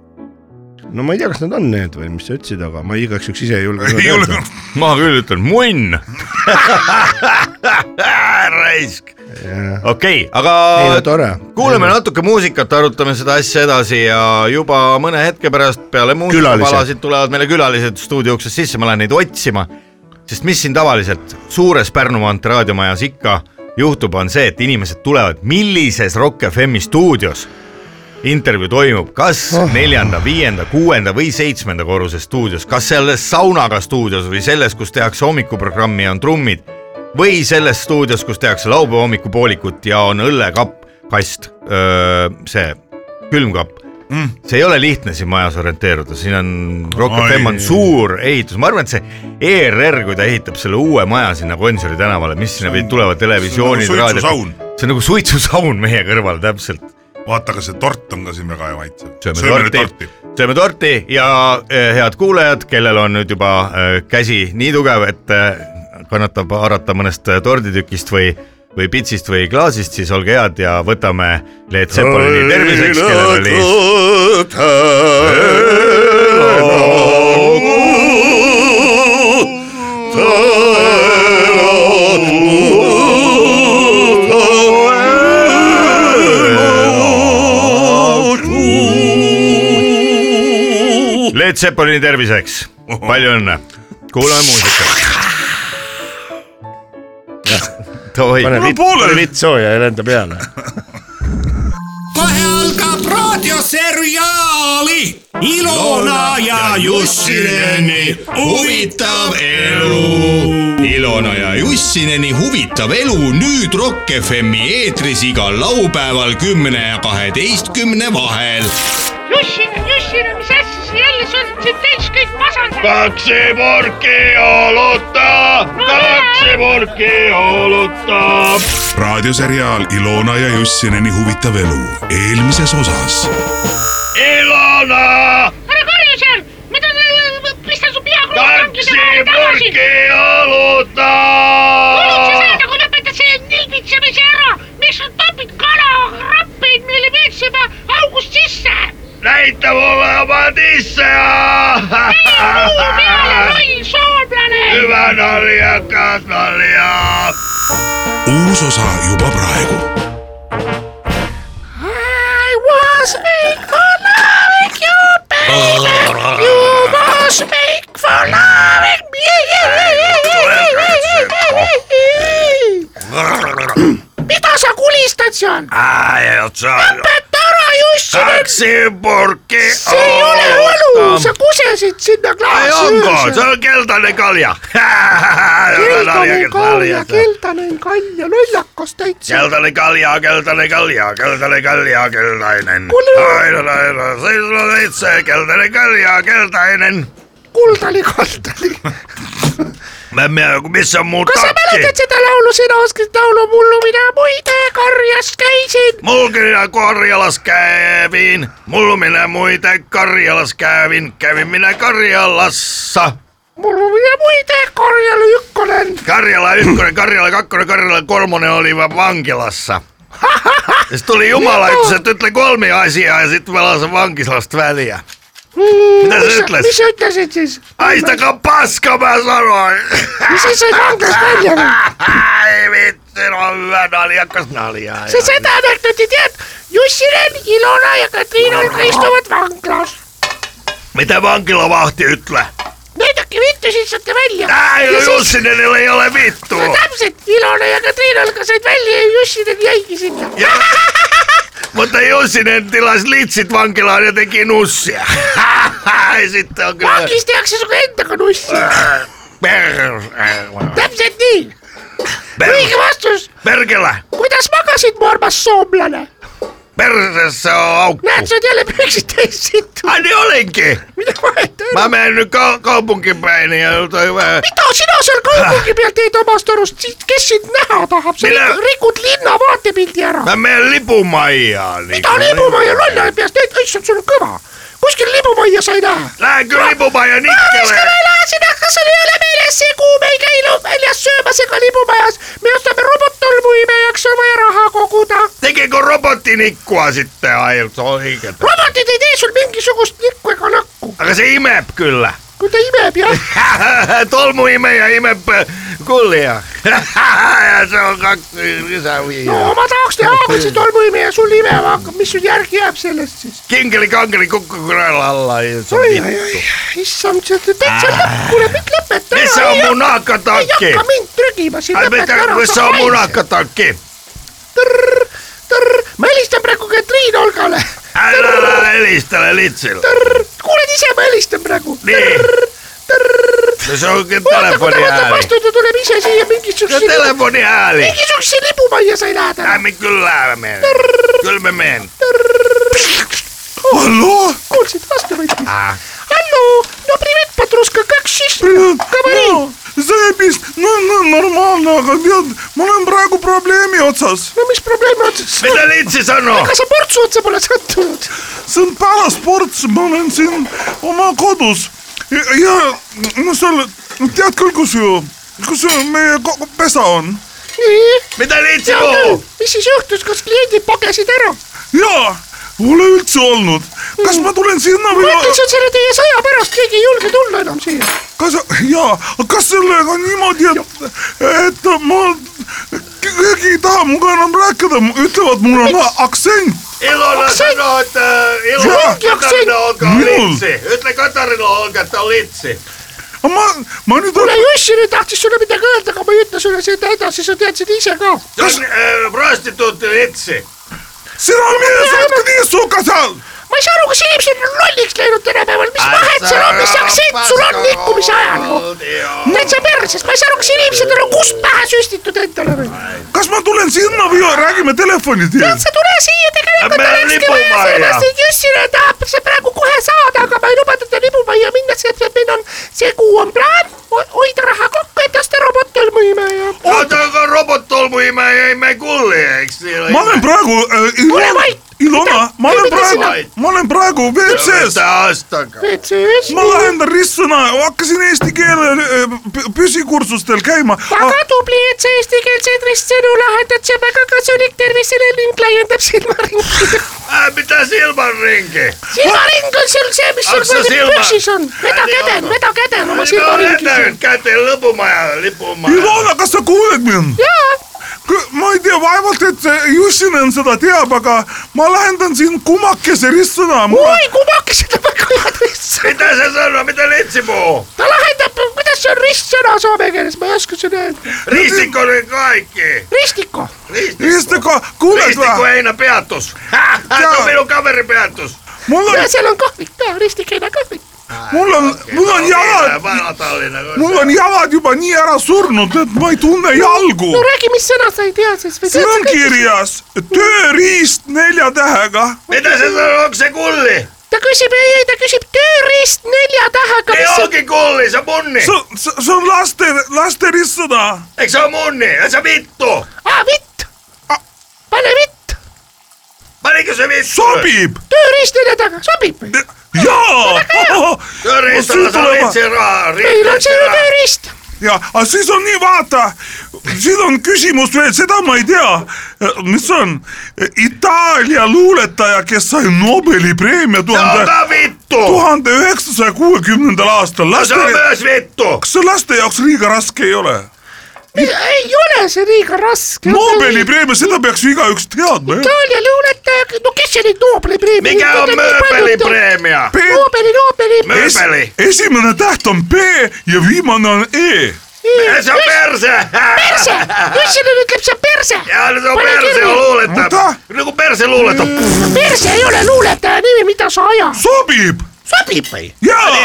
no ma ei tea , kas need on need või mis sa ütlesid , aga ma igaks juhuks ise ei julge . ei ole , ma küll ütlen munn . raisk , okei , aga ei no tore . kuulame natuke muusikat , arutame seda asja edasi ja juba mõne hetke pärast peale muusikapalasid Külalised. tulevad meile külalised stuudio uksest sisse , ma lähen neid otsima . sest mis siin tavaliselt suures Pärnu maantee raadiomajas ikka juhtub , on see , et inimesed tulevad , millises Rock FM-i stuudios intervjuu toimub , kas neljanda , viienda , kuuenda või seitsmenda korruse stuudios , kas selles saunaga stuudios või selles , kus tehakse hommikuprogrammi ja on trummid või selles stuudios , kus tehakse laupäeva hommikupoolikut ja on õllekapp , kast , see külmkapp mm. . see ei ole lihtne siin majas orienteeruda , siin on Rock Ai. FM on suur ehitus , ma arvan , et see ERR , kui ta ehitab selle uue maja sinna Gonsiori tänavale , mis sinna pidid tulema televisioonid , see on nagu raadio , suitsusaun. see on nagu suitsusaun meie kõrval täpselt . vaata , aga see tort on ka siin väga hea maitsev . sööme torti , sööme torti ja eh, head kuulajad , kellel on nüüd juba eh, käsi nii tugev , et eh, kannatab haarata mõnest eh, torditükist või , või pitsist või klaasist , siis olge head ja võtame Leet Sepolini terviseks , kellel oli . Leet Sepolini terviseks , palju õnne , kuulame muusikat . pane tohib , vitt , pane vitt sooja ja lenda peale . kohe algab raadioseriaali Ilona ja Jussineni huvitav elu . Ilona ja Jussineni huvitav elu nüüd Rock FM-i eetris igal laupäeval kümne ja kaheteistkümne vahel . Jussin , Jussin , mis asja sa jälle sõitsid kaksi purkki olutta , kaksi purkki olutta . raadioseriaal Ilona ja Jussineni huvitav elu eelmises osas . Ilona , ära karju seal , mida te , pistan su pea kulutanud kaksi purkki olutta . sa seda , kui lõpetad selle nilbitsemise ära , miks sa topid kalarappeid meile veetsema august sisse ? näita mulle oma tisse . muu peale , loll soomlane . hyvä nalja , kas nalja . uus osa juba praegu . I was made for loving you , baby . You was made for loving me . mida sa kulistad seal ? lõpeta ära , Jussi , kaksi purkki see ei ole õlu , sa kusesid sinna Ai klaasi onko? Se on keltainen kalja. keltanen kalja , keltanen kalja , No lollakas täitsa . Keltainen kalja, keltainen kalja, keltainen kalja, keltainen. Kuule- Aina, aina, silloin itse keltainen kalja, keltainen. kuldali , kaldali . Mä en mie- missä on mun kas sa takki? mäletad seda laulu , sina oskasid laulu mullu , mina muide karjas käisin . Mulkina Karjalas kävin, mullu minä muita Karjalas kävin, kävin minä Karjalassa. mullu mina muide karjal ükk olen . Karjala ykkönen, Karjala kakkonen, Karjala kolmonen oli vaan vankilassa. Ja sit tuli Jumala, Niin että se tytle kolmi asiaa ja sit velasin vankilasta väliä. Mm, Mitä se mis ütles? sa ütlesid siis ? Haistakaa paska, mä sanoin! mis siis sai vanglast välja või ? Ai vittu, no hyvä naljakas nalja. sa seda anekdooti tead ? Jussi Ren , Ilona ja Katriin Olka istuvad vanglas . Mitä vankilavahti ytle? näidake vittu , siis saate välja . Tää Siis- Jussinenille ei ole vittu! täpselt , Ilona ja Katriin Olka said välja ja Jussi Ren jäigi sinna . Ja, mutta Jussinen tilasi litsit vankilaan ja teki nussia. Ai sitten on kyllä... vangis tehakse sinuga endaga nussi , Per... täpselt nii . per... õige vastus , Perkele! kuidas magasid , mu armas soomlane ? Persessä on aukku. näed , sa oled jälle püksid täis siit , Ai niin olinkin. mida vahet ei ole . Mä menen nyt ka- kaupunkiin päin ja joltain hyvä. mida sina seal kaupungi peal teed omast arust , kes sind näha tahab , sa Mine- rikud- rikud linna vaatepildi ära . Mä menen lipumaijaan. Niin mida libumaja lollaja peast teed , issand , sul on kõva . kuskil libumaja sa ei näe . Lähdenkö lipumaija ära nikkeleen? ära sina , kas sul ei ole meeles see , kuhu me ei käi lu- väljas söömas ega libumajas , me ostame robottolmuimejaks , on vaja raha koguda Tekeekö robottinikkua sitten aiemmin? Se on liikettä. robotid ei tee sul mingisugust nikku ega nakku , Aga se imeb kyllä. kui ta imeb jah . Tolmu imee ja imeb kullia. ja se on kaksi lisäviä. no ma tahaks teha Aagutsi tolmuimeja , sul imema hakkab , mis sul järgi jääb sellest siis ? Kinkeli kankeli kukku kurällä alla. ja se on oi , vittu. oi , oi , issand , see on täitsa lõpp , kuule nüüd lõpeta ära . Missä on mun ei nahkatakki? hakka mind trügima siin , Ai lõpeta mitä, ära . missä on mun nahkatakki? tõrr , tõrr , ma helistan praegu Katriin Olgale . Älä älä helistele litsillä. tõrr , kuuled ise , ma helistan praegu . Niin. tõrr , No se onkin oota , kui ta telefoni võtab ääni. vastu , ta tuleb ise siia No mingisuguse , telefoni ääni. mingisuguse libumajja sai lähedale . Äämi kyllä menen. Kyllä me menen. Oh. halloo , kuulsid , vastu võttis . Алло, ну привет, подружка, как щищно? Говори. seepist , no , no normaalne , aga tead , ma olen praegu probleemi otsas . no mis probleem on siis ? Mitä litsi sanoo? ega sa portsu otsa pole sattunud ? see on pärast ports , ma olen siin oma kodus ja, ja no seal , tead küll , kus ju , kus ju meie ko- pesa on nii , Mitä litsi hea küll puhuu? . mis siis juhtus , kas kliendid pagesid ära ? ja pole üldse olnud . kas Hmm. ma tulen sinna või ? äkki see on selle teie sõja pärast , keegi ei julge tulla enam siia . kas ja , kas sellega on niimoodi , et , et ma , keegi ei taha minuga enam rääkida , ütlevad , mul on aktsent . Ilona Aksen- sanoo, että äh, Ilona Joo. Katarina olkaa Minun. litsi. Ytle Katarina olkaa, että on litsi. ma , ma nüüd kuule , Jussi nüüd tahtis sulle midagi öelda , aga ma ei ütle sulle seda edasi , sa tead seda ise ka . Se on äh, prostituutti litsi. sina mees , oled ka nii suka seal . ma ei saa aru , kas inimesed on lolliks läinud tänapäeval , mis vahet seal on , mis aktsent sul on niin liikumise ajal ? täitsa perses , ma ei saa aru , kas inimesed on kust pähe süstitud endale või ? kas ma tulen sinna või räägime telefoni teel tead , sa ? tule siia , tegelikult Lähme ta läkski vaja libumajja. sellepärast , et Jussile tahab see praegu kohe saada , aga ma ei luba teda libumajja minna , sest et meil on see kuu on plaan ho- hoida raha kokku , et lasta robot tolmuima ja oota , aga robot tolmuimeja ei me kuule , eks . ma olen praegu Ole äh, vait! , Ilona , ma olen Mida praegu sina- , ma olen praegu WC-s , aastaga . Niin. WC-s ma lahendan ristsõna , hakkasin eesti keele äh, pü- püsikursustel käima . Ah, väga tubli , et sa eestikeelseid ristsõnu lahendad , see on väga kasulik tervisele ning laiendab silmaringi . mitä silmanrinki ? silmaring on sul see , mis sul Aksa praegu silma- püksis on , veda Ärge käden , anna. veda käden oma silmaringi . Käteen käteen lipumaja , lipumaja . Ilona , kas sa kuuled mind ? jaa , ma ei tea , vaevalt , et see Jussinen seda teab , aga ma lahendan siin kumakese ristsõna . oi kumakesed on väga head ristsõnad , mitä se sanoo , mitä litsi No puhuu ? ta lahendab , kuidas see on ristsõna soome keeles , ma ei oska seda öelda , niin. Ristikko oli kaikki . ristiko . Ristikko, Ristiko , kuuled Ristikko või ? Heino peatus . Se on minun kaverin peatus . mul on ja , seal on kahvik ka , ristikeene kahvik . mul on , mul on jalad , Vana Tallinna . mul on jalad juba nii ära surnud , et ma ei tunne jalgu . no räägi , mis sõna sa ei tea siis või siin on ? kirjas tööriist nelja tähega . Mitä se sanoo , onko se kulli ? ta küsib , ei , ei ta küsib tööriist nelja tähega , Ei mis on , onkin kulli , se on munni . see on , see on laste , laste ristsõna . Eikö se ole munni? Ei se vittu. aa vitt , pane vitt , Panikö se vittu? sobib tööriist nelja taga , sobib või ? jaa . Töristellä saa litsi rahaa. ei no see Litsi on ju rahaa. tööriist , ja , aga siis on nii , vaata , siin on küsimus veel , seda ma ei tea , mis on Itaalia luuletaja , kes sai Nobeli preemia Se on tuhande , tää vittu. tuhande üheksasaja kuuekümnendal aastal . No se on myös vittu. kas see laste jaoks liiga raske ei ole ? ei ole see liiga raske . Nobeli preemia , seda peaks ju igaüks teadma ju . Itaalia luuletaja , no kes see nüüd Nobeli preemia . Mikä on mööpeli preemia? Pe- Nobeli , Nobeli . Es, Mööpeli. esimene täht on B ja viimane on E . Se on perse. perse , Jüssile ütleb see perse . E Ja se on perse on luuletta. Mitä? Niinku perse luuletta. perse ei ole luuletaja nimi , mida sa aja . sobib sobib või ? jaa ,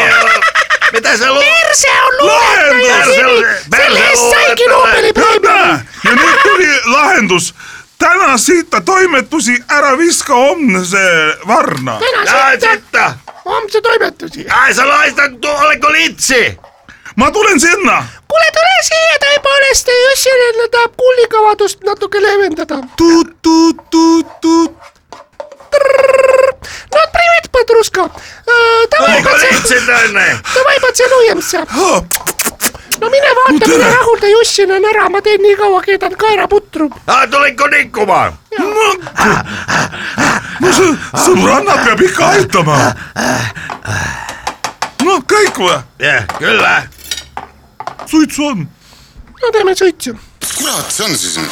Mitä se luuletta? perse on luuletaja Lahendus! nimi Perse- , perse selle eest saigi luuletaja. Nobeli preemia . näe ja nüüd tuli lahendus . täna siita toimetusi ära viska homse varna . Ai täna siit sitta. homse toimetusi . Ai sä laistat, tu- oletko litsi? ma tulen sinna . kuule , tule siia tõepoolest , Jüssile tahab kullikavadust natuke leevendada . no privet , Padruska . Eh, Oliko tavapäraselt . litsi tänne? davai , potsenoojamisse . no mine vaata , mine rahulda Jussin on ära , ma teen nii kaua , keedan kaeraputru . Ai tulinko Ah, nikkumaan? no see sõbranna peab ikka aitama . no kõik või , Jah, Kyllä. suitsu on . no teeme suitsu . kurat see on siis nüüd ?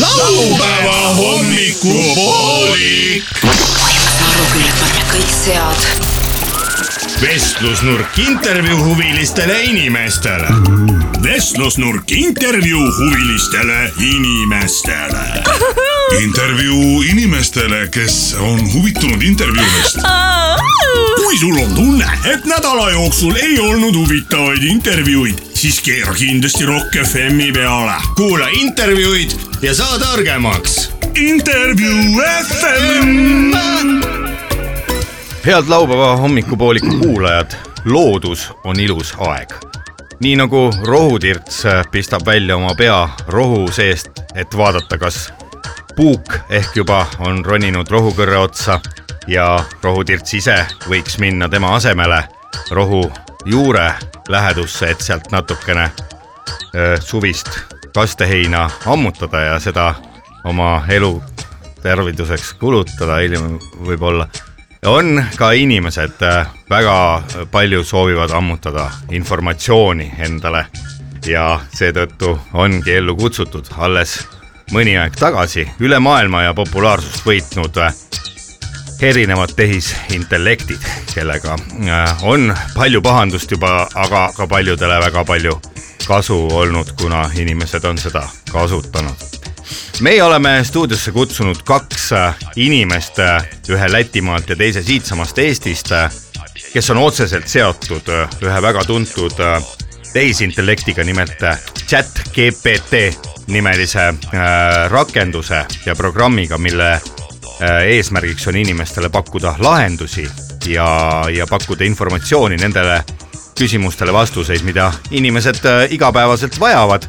laupäeva hommikupoolik . Narukülla panna kõik sead . vestlusnurk intervjuu huvilistele inimestele . vestlusnurk intervjuu huvilistele inimestele . intervjuu inimestele , kes on huvitunud intervjuudest . kui sul on tunne , et nädala jooksul ei olnud huvitavaid intervjuuid , siis keera kindlasti Rock FM-i peale . kuula intervjuud ja saa targemaks . intervjuu FM . head laupäeva hommikupooliku kuulajad , loodus on ilus aeg . nii nagu rohutirts pistab välja oma pea rohu seest , et vaadata , kas puuk ehk juba on roninud rohukõrre otsa ja rohutirts ise võiks minna tema asemele rohu juure lähedusse , et sealt natukene öö, Äh, suvist kasteheina ammutada ja seda oma elu terviduseks kulutada hiljem võib-olla . on ka inimesed äh, väga palju soovivad ammutada informatsiooni endale ja seetõttu ongi ellu kutsutud alles mõni aeg tagasi üle maailma ja populaarsust võitnud äh, erinevad tehisintellektid , kellega äh, on palju pahandust juba , aga ka paljudele väga palju kasu olnud , kuna inimesed on seda kasutanud . meie oleme stuudiosse kutsunud kaks äh, inimest , ühe Lätimaalt ja teise siitsamast Eestist , kes on otseselt seotud äh, ühe väga tuntud äh, tehisintellektiga , nimelt äh, ChatGPT nimelise äh, rakenduse ja programmiga , mille Äh, eesmärgiks on inimestele pakkuda lahendusi ja , ja pakkuda informatsiooni nendele küsimustele vastuseid , mida inimesed äh, igapäevaselt vajavad .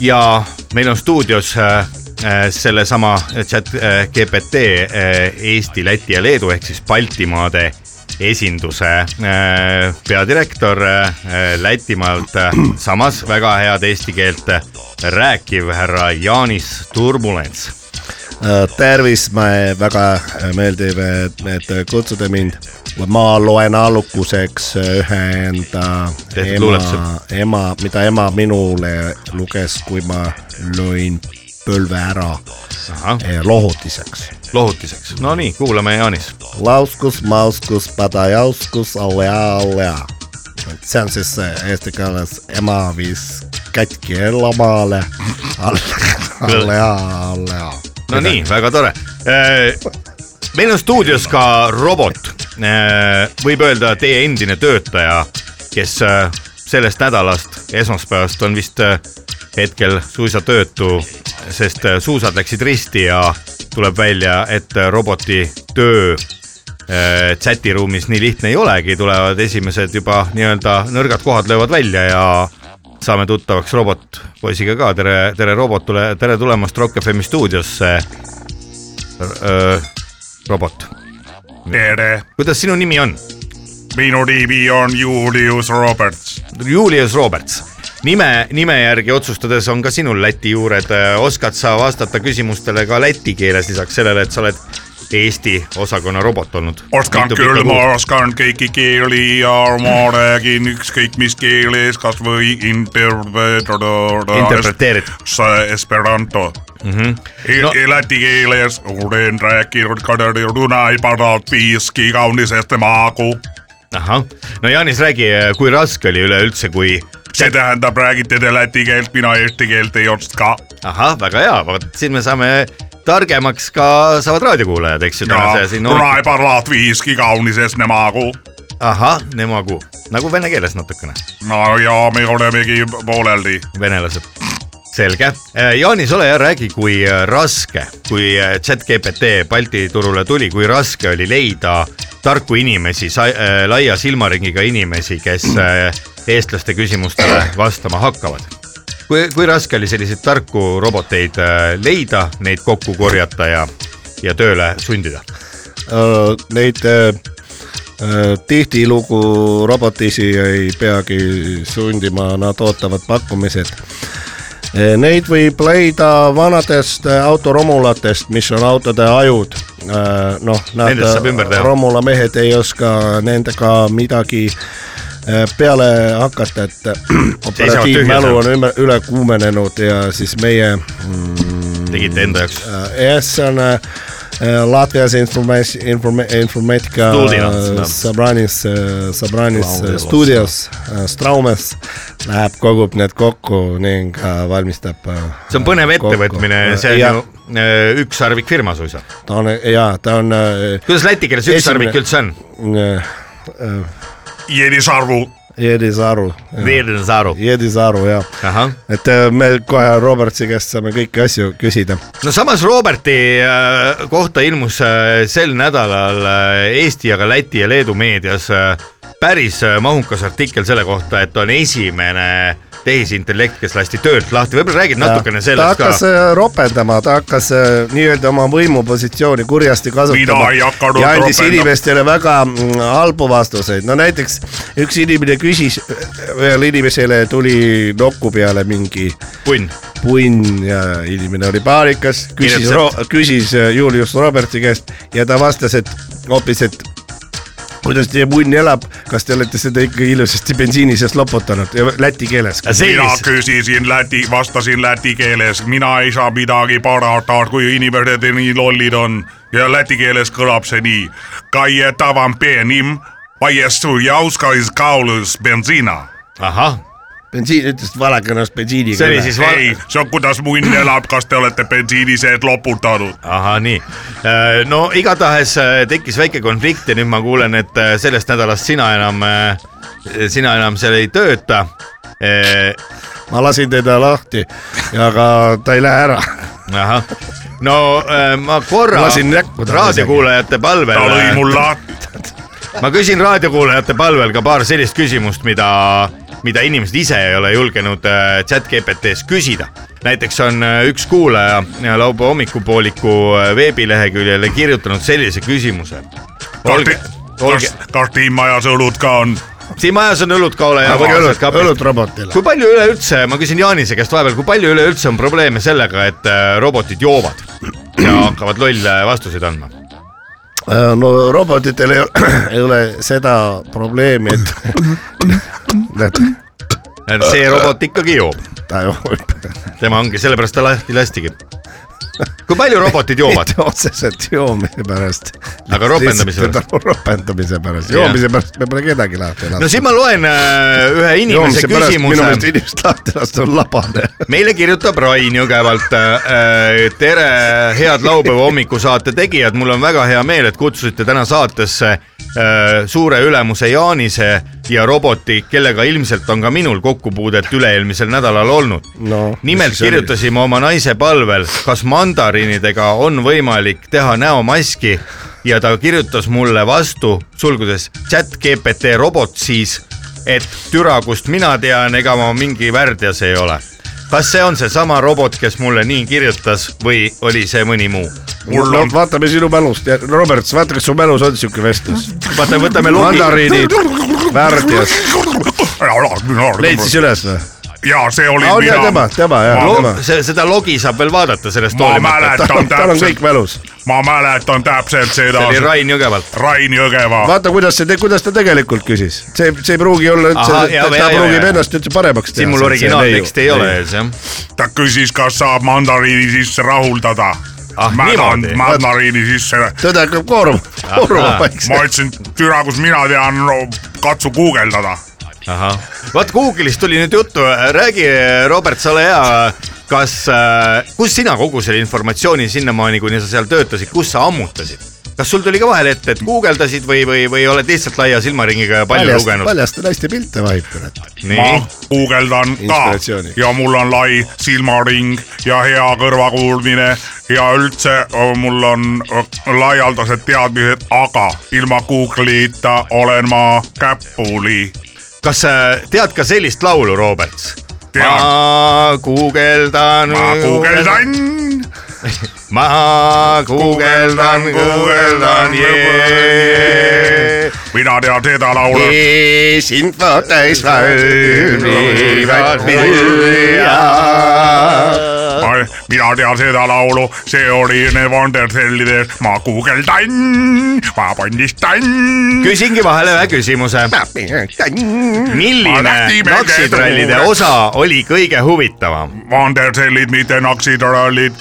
ja meil on stuudios äh, äh, sellesama chat äh, GPT äh, Eesti , Läti ja Leedu ehk siis Baltimaade esinduse äh, peadirektor äh, Lätimaalt äh, , samas väga head eesti keelt eh, rääkiv härra Jaanis Turbulents . tervist , me Äh, väga meeldiv , et , et kutsute mind . ma loen alguseks ühe enda Tehtud ema luuletuse. , ema , mida ema minule luges , kui ma lõin põlve ära eh, lohutiseks . lohutiseks , no nii , kuulame Jaanis . lauskus , mauskus , padajauskus , allea , allea . see on siis eh, eesti keeles ema viis katki elamaale , allea , allea no nii , väga tore . meil on stuudios ka robot , võib öelda teie endine töötaja , kes eh, sellest nädalast , esmaspäevast on vist eh, hetkel suisa töötu , sest eh, suusad läksid risti ja tuleb välja , et eh, roboti töö eh, chatiruumis nii lihtne ei olegi , tulevad esimesed juba nii-öelda nõrgad kohad löövad välja ja saame tuttavaks robotpoisiga ka , tere , tere robotule , tere tulemast Rock FM stuudiosse . robot , tere , kuidas sinu nimi on ? minu nimi on Julius Roberts . Julius Roberts , nime , nime järgi otsustades on ka sinul Läti juured , oskad sa vastata küsimustele ka läti keeles , lisaks sellele , et sa oled Eesti osakonna robot olnud ? oskan küll , ma oskan kõiki keeli ja ma räägin ükskõik mis keeles , kasvõi interpreteerida . interpreteerid , sa Esperanto mm . -hmm. No- No. Läti kielessä olen rääkinud kadeduna ei parat viiski kaunisesta maaku. ahah , no Jaanis , räägi , kui raske oli üleüldse , kui Se tähendab räägite te läti keelt, minä eesti keelt ei oska. ahah , väga hea , vot siin me saame targemaks ka saavad raadiokuulajad , eks ju , Ja tänase siin tuna ei parat viiski kaunisesta maaku. ahah , nemagu , nagu vene keeles natukene , No ja me olemmekin pooleldi. venelased . selge , Jaanis , ole hea , räägi , kui äh, raske , kui äh, chatGPT Balti turule tuli , kui raske oli leida tarku inimesi , laia silmaringiga inimesi , kes äh, eestlaste küsimustele vastama hakkavad . kui , kui raske oli selliseid tarku roboteid äh, leida , neid kokku korjata ja , ja tööle sundida ? Öö, Äh, neid öö, öö, tihtilugu robotisi ei peagi sundima , nad ootavad pakkumised . Neid võib leida vanadest öö, autoromulatest , mis on autode ajud . noh , nad Nendest saab ümber teha. romulamehed ei oska nendega midagi öö, peale hakata , et äh, operatiivmälu tühja on üme- üle kuumenenud ja siis meie tegite enda jaoks ? jah , see on äh, Latvias informa- , informa- , informaatika Stuudios, äh, jah. Sabranis , Sabranis äh, stuudios , Straumes läheb , kogub need kokku ning äh, valmistab . see on põnev ettevõtmine , see on ju . äh, ükssarvik firma suisa . ta on ja ta on äh, kuidas läti keeles ükssarvik Esimene- üldse on ? äh, Jelisarvu. Jedis Aru , Virnsaru . Jedis Aru jah , ahah , et äh, me kohe Robertsi käest saame kõiki asju küsida . no samas Roberti äh, kohta ilmus äh, sel nädalal äh, Eesti , aga Läti ja Leedu meedias äh, päris äh, mahukas artikkel selle kohta , et on esimene tehisintellekt , kes lasti töölt lahti , võib-olla räägid natukene ta sellest ka hakkas . äh, ropendama , ta hakkas äh, nii-öelda oma võimupositsiooni kurjasti kasutama Mina ei hakanud ja andis ropendama. inimestele väga mm, halbu vastuseid , no näiteks üks inimene küsis , ühele inimesele tuli nokku peale mingi punn , punn ja inimene oli paanikas , küsis , Kirjutas- küsis äh, Julius Roberti käest ja ta vastas , et hoopis , et kuidas teie punn elab , kas te olete seda ikka ilusasti bensiini sees loputanud ja läti keeles . Minä sellis , kysisin läti, vastasin läti kieles. Minä ei saa midagi parata, kun ihmiset niin lollit on. Ja läti kieles kõlab se nii. Kai e tavan peenim, vai e suu jauskais kaulus bensiina. ahah , bensiin , ütles valakõnas bensiiniga . see oli siis val- Ei, se on kutas muin elab, kas te olette bensiiniseet loputtanut. ahah , nii . no igatahes äh, tekkis väike konflikt ja nüüd ma kuulen , et äh, sellest nädalast sina enam , sina enam seal ei tööta . Äh, ma lasin teda lahti , aga ta ei lähe ära . ahah , no äh, ma korra Lasin näkku talle raadiokuulajate palvel äh, Ta lõi mul lahti. ma küsin raadiokuulajate palvel ka paar sellist küsimust , mida , mida inimesed ise ei ole julgenud äh, chat GPT-s küsida . näiteks on äh, üks kuulaja äh, laupäeva hommikupooliku äh, veebileheküljele kirjutanud sellise küsimuse . olge , olge kas ,, kas Tiimajas õlut ka on ? siin majas on õlut ka ole hea . õlut , õlut robotile . kui palju üleüldse , ma küsin Jaanise käest vahepeal , kui palju üleüldse on probleeme sellega , et äh, robotid joovad ja hakkavad lolle vastuseid andma ? Äh, no robotitel ei ole, ei ole seda probleemi , et et näed , Äh. see robot ikkagi joob , ta joob tema ongi , sellepärast ta lahti lastigi . kui palju robotid joovad mitte ? otseselt joomise pärast . Aga ropendamise pärast ? ropendamise pärast , Jah. joomise pärast me pole kedagi lahti no lasknud . siin ma loen äh, ühe inimese minu meelest küsimuse . inimesed lahti lasta on labane . meile kirjutab Rain Jõgevalt äh, . tere , head laupäeva hommikusaate tegijad , mul on väga hea meel , et kutsusite täna saatesse äh, suure ülemuse Jaanise ja roboti , kellega ilmselt on ka minul kokkupuudet üle-eelmisel nädalal olnud No, nimelt mis siis oli? kirjutasime oma naise palvel , kas mandariinidega on võimalik teha näomaski ja ta kirjutas mulle vastu , sulgudes chat GPT robot siis , et türa , kust mina tean , ega ma mingi värdjas ei ole . kas see on seesama robot , kes mulle nii kirjutas või oli see mõni muu ? mul on , vaatame sinu mälust , Robert , vaata , kas su mälus on siuke vestlus . vaata , võtame logi , mandariinid , värdjas , leid siis üles või ? ja see oli on ja mina tema ,, tema ja Lo- tema . seda logi saab veel vaadata sellest ma hoolimata . mäletan tal on täpselt kõik , mälus . ma mäletan täpselt seda see oli Rain Jõgevalt . Rain Ah. Jõgeva , vaata , kuidas see , kuidas ta tegelikult küsis , see , see ei pruugi olla üldse Ahah, , jaa, ta jaa, ta jaa, pruugib jaa. ennast üldse paremaks teha . siin mul originaalteksti ei ole ees jah . ta küsis , kas saab mandariini sisse rahuldada Ah, . ma tahan niimoodi. mandariini sisse , tõde hakkab kooruma , kooruma Ahah. paikse . ma ütlesin , türa , kus mina tean , katsu guugeldada . ahah , vaat Google'ist tuli nüüd juttu , räägi , Robert , sa ole hea , kas , kus sina kogu selle informatsiooni sinnamaani , kuni sa seal töötasid , kus sa ammutasid ? kas sul tuli ka vahel ette , et guugeldasid või , või , või oled lihtsalt laia silmaringiga ja palju Paljast, paljast , lugenud ? paljast naiste pilte vahib . nii ma , guugeldan ka Inspiratsiooni. ja mul on lai silmaring ja hea kõrvakuulmine ja üldse öö, mul on öö, laialdased teadmised , aga ilma Google'ita olen ma käpuli . kas sa tead ka sellist laulu , Robert ? Tean. ma guugeldan . ma guugeldan , ma guugeldan , guugeldan , jee . mina tean seda laulu . ees info täis valmivad vilja . mina tean seda laulu , see oli Ene Vandersellide Ma guugeldan , ma pandistan . küsingi vahele ühe küsimuse . Ma milline lähtime naksitrallide käed osa oli kõige huvitavam ? Vandersellid , mitte naksitrallid .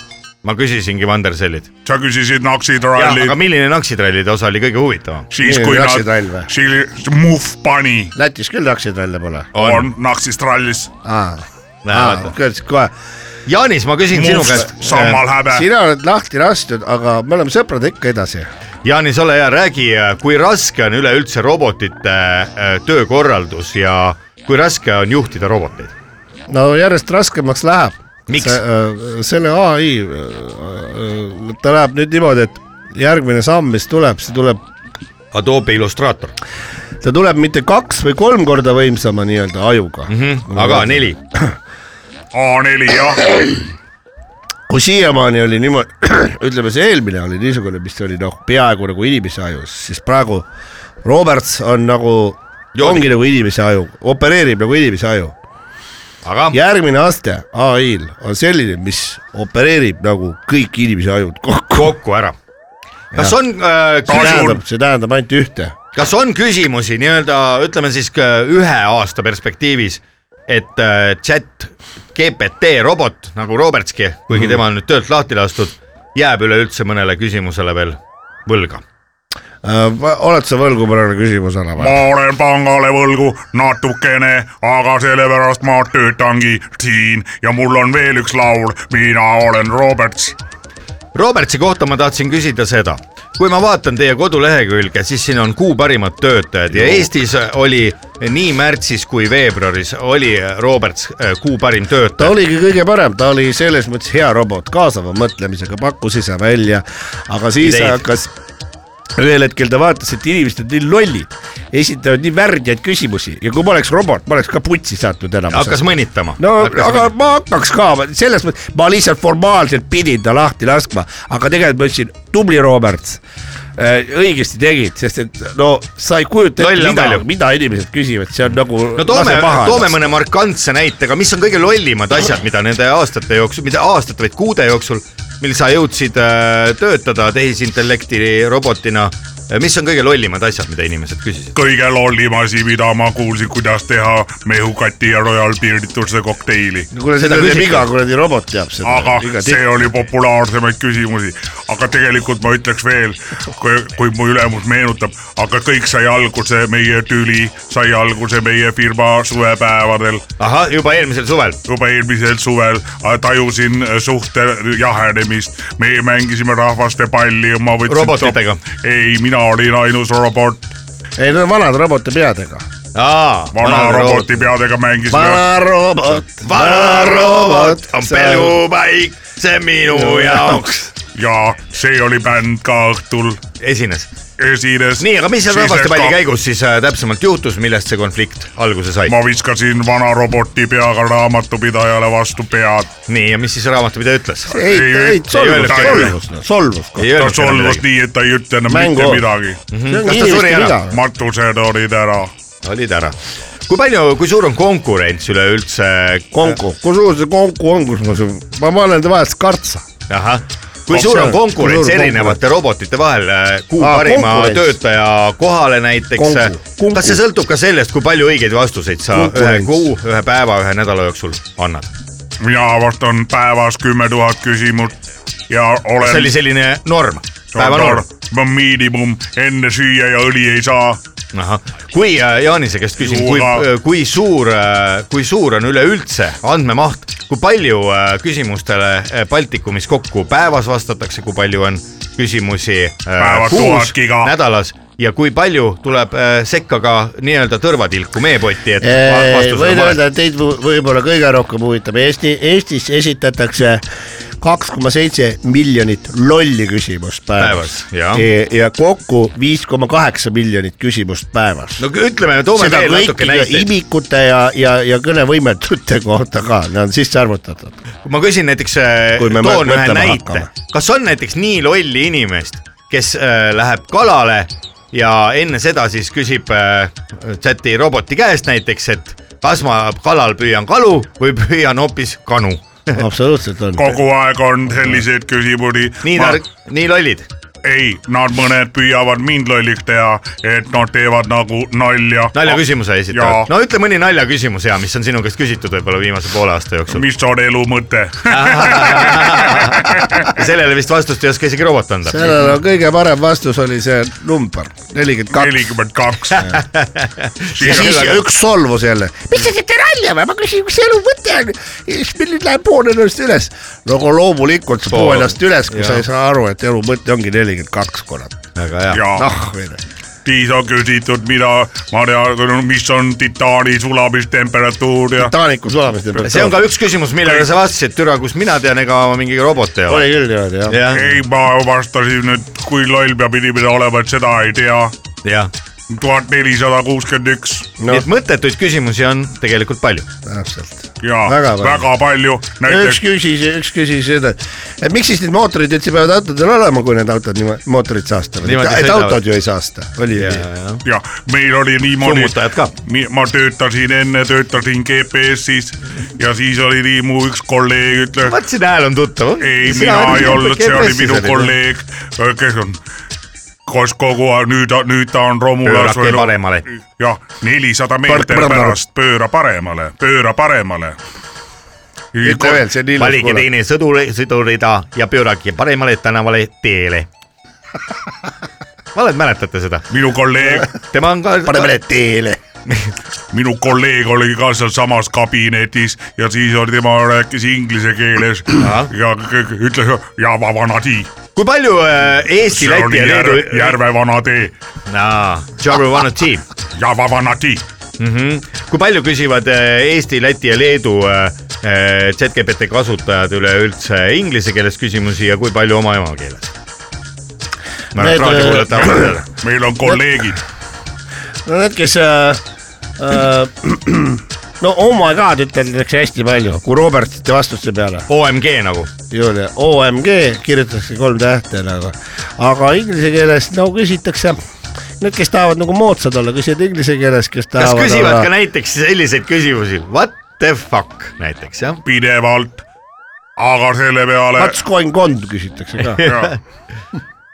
ma küsisingi Vandersellid . sa küsisid jah , naksitrallid aga . milline naksitrallide osa oli kõige huvitavam ? siis Nii, kui naksitrall või? nad , siis Muff pani , Lätis küll naksid välja pole . on naksist rallis , vaata. kohe , Jaanis , ma küsin sinu Muff käest . äh, sammal häbe , sina oled lahti lastud , aga me oleme sõbrad ikka edasi . Jaanis , ole hea , räägi , kui raske on üleüldse robotite äh, töökorraldus ja kui raske on juhtida roboteid ? no järjest raskemaks läheb . Miks? selle ai , äh, ta läheb nüüd niimoodi , et järgmine samm , mis tuleb , see tuleb Adobe Illustrator , ta tuleb mitte kaks või kolm korda võimsama nii-öelda ajuga mm . -hmm. aga neli . A4 jah , kui siiamaani oli niimoodi , ütleme , see eelmine oli niisugune , mis oli noh , peaaegu nagu inimese ajus , siis praegu Roberts on nagu , ongi nagu inimese aju , opereerib nagu inimese aju . aga järgmine aste ai-l on selline , mis opereerib nagu kõik inimese ajud kokku . kokku ära . kas on äh, see küsimus ? tähendab , see tähendab ainult ühte . kas on küsimusi nii-öelda , ütleme siis ka ühe aasta perspektiivis , et äh, chat GPT robot nagu Robertski , Mhm. kuigi tema on nüüd töölt lahti lastud , jääb üleüldse mõnele küsimusele veel võlga . Äh, oled sa võlgu mõnele küsimusele ma või ? olen pangale võlgu natukene , aga sellepärast ma töötangi siin ja mul on veel üks laul , mina olen Roberts , Robertsi kohta ma tahtsin küsida seda , kui ma vaatan teie kodulehekülge , siis siin on kuu parimad töötajad ja Eestis äh, oli nii märtsis kui veebruaris oli Roberts äh, kuu parim töötaja . ta oligi kõige parem , ta oli selles mõttes hea robot , kaasava mõtlemisega pakkus ise välja , aga siis Ideid. hakkas ühel hetkel ta vaatas , et inimesed on nii lollid , esitavad nii värdjaid küsimusi ja kui ma oleks robot , ma oleks ka putsi saatnud hakkas enamus . mõnitama . no aga ma hakkaks ka , selles mõttes , ma lihtsalt formaalselt pidin ta lahti laskma , aga tegelikult ma ütlesin , tubli Robert , õigesti tegid , sest et no sa ei kujuta ette , Lolle on mida palju. , mida inimesed küsivad , see on nagu no toome , toome mõne markantse näite , aga mis on kõige lollimad asjad , mida nende aastate jooksul , mitte aastate , vaid kuude jooksul , mil sa jõudsid äh, töötada tehisintellekti robotina , mis on kõige lollimad asjad , mida inimesed küsisid ? kõige lollim asi , mida ma kuulsin , kuidas teha mehukati ja Royal Beardituse kokteili . kuule , Seda seda teeb küsiti. iga kuradi robot teab seda . aga see oli populaarsemaid küsimusi , aga tegelikult ma ütleks veel , kui , kui mu ülemus meenutab , aga kõik sai alguse meie tüli , sai alguse meie firma suvepäevadel , ahah , juba eelmisel suvel . juba eelmisel suvel äh, tajusin äh, suhte jahenemist , me mängisime rahvaste palli , ma võtsin . Robotitega. . ei , mina olin ainus robot , ei , need on vanad roboti peadega . vana roboti peadega mängisime . vana robot , vana robot on pelupaik , see minu jaoks . ja see oli bänd ka õhtul esines . esines . nii , aga mis seal rahvastepalli käigus siis äh, täpsemalt juhtus , millest see konflikt alguse sai ? ma viskasin vana roboti peaga raamatupidajale vastu pead . nii , ja mis siis raamatupidaja ütles ? ei , ei , solvus , öelnud solvus , solvus . noh. ta solvus . nii , et ta ei ütle enam Mängu. mitte midagi . Mhm. Kas ta suri ära? matused olid ära . olid ära . kui palju , kui suur on konkurents üleüldse ? konku , kusjuures see konku on , kus ma su- , ma panen ta vahest kartsa . ahah , kui Oh, suur see on on- konkurents kui suur erinevate robotite vahel , kuu Aa, parima konkurents. töötaja kohale näiteks äh? Konku- . konku- kas see sõltub ka sellest , kui palju õigeid vastuseid sa ühe Konkurents. kuu , ühe päeva , ühe nädala jooksul annad ? mina vastan päevas kümme tuhat küsimust ja olen . see oli selline norm , päevanorm . ma miinimum , enne süüa ja õli ei saa . ahah , kui äh, Jaanise käest küsin , kui äh, Juura. , kui suur , kui suur on üleüldse andmemaht , kui palju äh, küsimustele äh, Baltikumis kokku päevas vastatakse , kui palju on küsimusi äh, Päevas kuus tuhat giga. nädalas ja kui palju tuleb äh, sekka ka nii-öelda tõrvatilku meepotti , et va- vastus on võin vale . öelda , et teid võ- võib-olla kõige rohkem huvitab Eesti , Eestis esitatakse kaks koma seitse miljonit lolli küsimust päevas, Päevas, jah. ja, ja kokku viis koma kaheksa miljonit küsimust päevas . no kõ- ütleme , toome seda veel natuke kõikide näiteid . imikute ja , ja , ja kõnevõimetute kohta ka , need on sisse arvutatud . ma küsin näiteks , Kui me toon mõ- ühe mõtlema näite hakkame. , kas on näiteks nii lolli inimest , kes äh, läheb kalale ja enne seda siis küsib äh, chati roboti käest näiteks , et kas ma kalal püüan kalu või püüan hoopis kanu . absoluutselt on . kogu aeg on selliseid küsimusi . nii tark , nii lollid . ei , nad mõned püüavad mind lolliks teha , et nad teevad nagu nalja . naljaküsimuse Jaa. esitavad . no ütle mõni naljaküsimus ja mis on sinu käest küsitud võib-olla viimase poole aasta jooksul . mis on elu mõte ? sellele vist vastust ei oska isegi robot anda . sellele on kõige parem vastus oli see number nelikümmend kaks . nelikümmend kaks . ja siis üks solvus jälle , mis te teete nalja või , ma küsin , mis see elu mõte on , siis meil nüüd läheb pool ennast üles . no aga loomulikult sa puu Pool. ennast üles , kui sa Jah. ei saa aru , et elu mõte ongi nelikümmend kaks , kurat . väga hea . ja ah , siis on küsitud , mida ma tean , mis on titaani sulamistemperatuur ja Taaniku sulamiste peal . Noh. see on ka üks küsimus , millele sa vastasid , türa , kus mina tean , ega ma mingi robot ei ole . oli küll niimoodi jah . jah , ei , ma vastasin , et kui loll peab inimene olema , et seda ei tea . jah . tuhat nelisada kuuskümmend üks nii et mõttetuid küsimusi on tegelikult palju . täpselt . ja Väga palju. väga palju, väga palju. , üks näiteks küsis , üks küsis seda , et miks siis need mootorid üldse peavad autodel olema , kui need autod niimoodi , mootorid saastavad , Niimoodi et sõidavad. autod ju ei saasta , oli ju nii . ja meil oli niimoodi Summutajad ka. , ma töötasin enne , töötasin GPS-is ja siis oli nii , mu üks kolleeg ütles , vaatasin , hääl on tuttav . ei , mina ei olnud , see oli minu . kolleeg , kes on , kas kogu aeg nüüd , nüüd ta on romulas pöörake paremale . jah , nelisada meetrit pardon. pärast pööra paremale , pööra paremale . ütle veel , see on ilus . valige teine sõduri , sõdurida ja pöörake paremale tänavale teele . valet , mäletate seda ? minu kolleeg , tema on ka . paneme need teele . minu kolleeg oli ka sealsamas kabinetis ja siis oli tema rääkis inglise keeles ja k- k- ütles Java vana tii . kui palju äh, Eesti , see Läti oli ja Leedu järve ,. järve vana tee , aa , Jaru One Team . Java vana tii . Hmm? kui palju küsivad äh, Eesti , Läti ja Leedu äh, äh, ZGBT kasutajad üleüldse inglise keeles küsimusi ja kui palju oma emakeeles ? ma arvan , et Need, äh, raadiokuulajad tahavad teada . meil on kolleegid . no need , kes äh, äh, no oh my god üteldakse hästi palju , kui Robertite vastuste peale , OMG nagu . Julia , OMG kirjutatakse kolm tähte nagu , aga inglise keeles no küsitakse , need , kes tahavad nagu moodsad olla , küsivad inglise keeles , kes kas tahavad küsivad ka olla . näiteks selliseid küsimusi , what the fuck näiteks jah ? pidevalt . aga selle peale What's going on küsitakse ka , ja,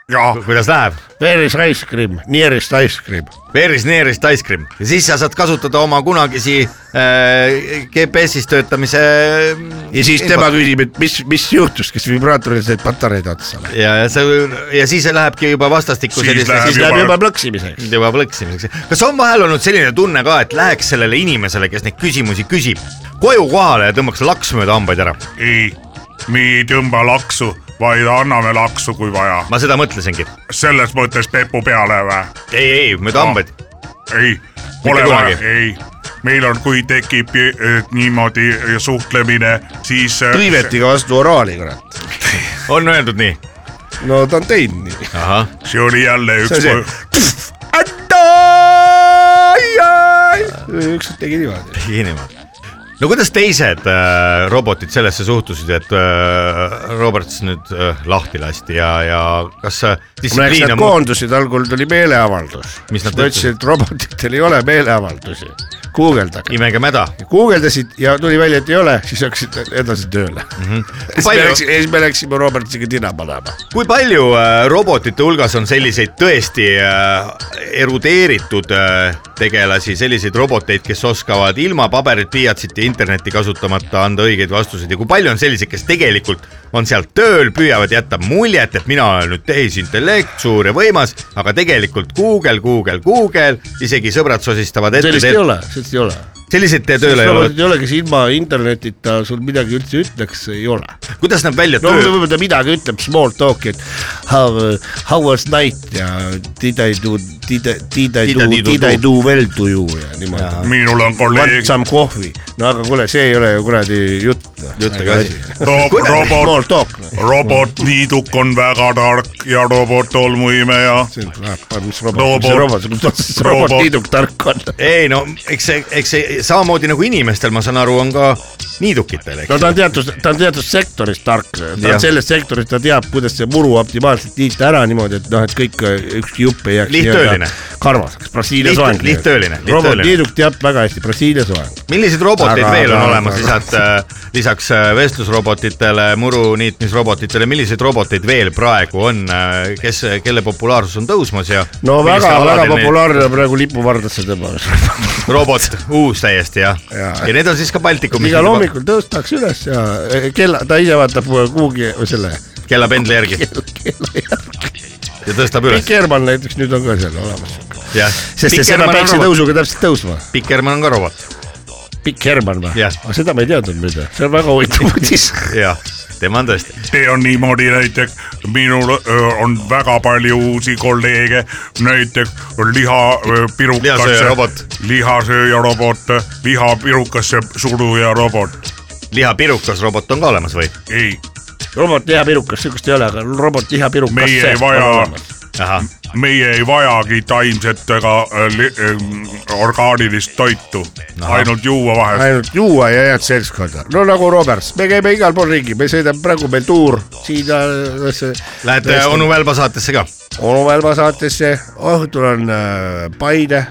ja kuidas läheb ? where is ice cream , nearest ice cream . Veris nearest ice cream ja siis sa saad kasutada oma kunagisi äh, GPS-is töötamise . mm, ja siis tema küsib , et mis , mis juhtus , kas vibraatoril said patareid otsa või ? ja , ja see ja siis see lähebki juba vastastikku Siis selliseks läheb siis läheb juba plõksimiseks . juba plõksimiseks . kas on vahel olnud selline tunne ka , et läheks sellele inimesele , kes neid küsimusi küsib , koju kohale ja tõmbaks laks mööda hambaid ära ? ei , me ei tõmba laksu , vaid anname laksu , kui vaja . ma seda mõtlesingi . selles mõttes pepu peale või ? ei , ei mööda hambaid . ei , pole vaja kunagi. , ei . meil on , kui tekib eh, niimoodi eh, suhtlemine , siis . eh, riivetiga vastu oraali , kurat . on öeldud nii ? no ta on teinud nii . ahah , see oli jälle üks See on see. kord- ükskord tegi niimoodi . inimene no kuidas teised äh, robotid sellesse suhtusid , et äh, Roberts nüüd äh, lahti lasti ja , ja kas äh, eks distsipliin nad on mu- koondusid , algul tuli meeleavaldus . Mis nad ma ütlesin , et robotitel ei ole meeleavaldusi . guugeldage . imega mäda ? guugeldasid ja tuli välja , et ei ole , siis hakkasid edasi tööle . siis me Mhm. Palju- läksime , siis me läksime Robertiga tina panema . kui palju äh, robotite hulgas on selliseid tõesti äh, erudeeritud äh, tegelasi , selliseid roboteid , kes oskavad ilma paberit , pliiatsit ja internetti kasutamata anda õigeid vastuseid ja kui palju on selliseid , kes tegelikult on seal tööl , püüavad jätta muljet , et mina olen nüüd tehisintellekt , suur ja võimas , aga tegelikult Google , Google , Google , isegi sõbrad sosistavad ette sellist , ei ole , sellist ei ole . selliseid te tööle ei ole , robotit ei ole , kes ilma internetita sul midagi üldse ütleks , ei ole kuidas nad välja no töö- , võib-olla ta midagi ütleb , small talk'i , et how , how was night ja did I do , did I , did I Did I do , do- did I do well to you ja niimoodi . minul on Want kolleeg some coffee , no aga kuule , see ei ole ju kuradi jutt . noh. Jutt ega asi. . Rob- Small robot , talk , noh. robotniiduk on väga tark ja robot tolmuimeja . ah, mis robot , mis Robot. robot , mis Robot. robot liidub tark on . noh. ei no eks see , eks see samamoodi nagu inimestel , ma saan aru , on ka niidukitel , eks no ta on teatud , ta on teatud sektoris tark , ta Jah. on selles sektoris , ta teab , kuidas see muru optimaalselt niita ära niimoodi , et noh , et kõik äh, ükski jupp ei jääks Lihttööline. nii-öelda karvaseks , Brasiilia Liht- soeng . lihttööline, lihttööline. robot Liiduk teab väga hästi Brasiilia soeng . millised robotid Aga- veel on aga- olemas aga- lisaks , lisaks äh, vestlusrobotitele , muruniitmisrobotitele , milliseid roboteid veel praegu on , kes , kelle populaarsus on tõusmas ja no millistel väga-väga aladel neid- populaarne on praegu lipuvardasse tõmbamine . robot , uus täiesti jah , Jaa. ja need on siis ka Baltikumis igal hommikul tõustakse üles ja eh, kella , ta ise vaatab eh, kuhugi või selle , kella pendli järgi ja tõstab üles Pikk , Herman näiteks nüüd on ka seal olemas . jah . sest et selle päiksetõusuga täpselt tõusma . Pikermann on ka robot , Pikk Herman või ? Jah. aga seda ma ei teadnud muide , see on väga huvitav uudis . jah , tema on tõesti , see on niimoodi näiteks , minul öö, on väga palju uusi kolleege , näiteks liha äh, öö, pirukasse Lihasööjarobot. , lihasööjarobot , äh, liha pirukasse suruja robot , lihapirukas robot on ka olemas või ? ei , robot lihapirukas , sihukest ei ole , aga robot lihapirukas . Meie ei vaja- ahah , meie ei vajagi taimset ega öö, li- öö, orgaanilist toitu , ainult juua vahest . ainult juua ja head seltskonda , no nagu Roberts , me käime igal pool ringi , me sõidame praegu meil tuur siin . äh, lähete onu Välba saatesse ka ? onu Välma saatesse , õhtul on äh, Paide .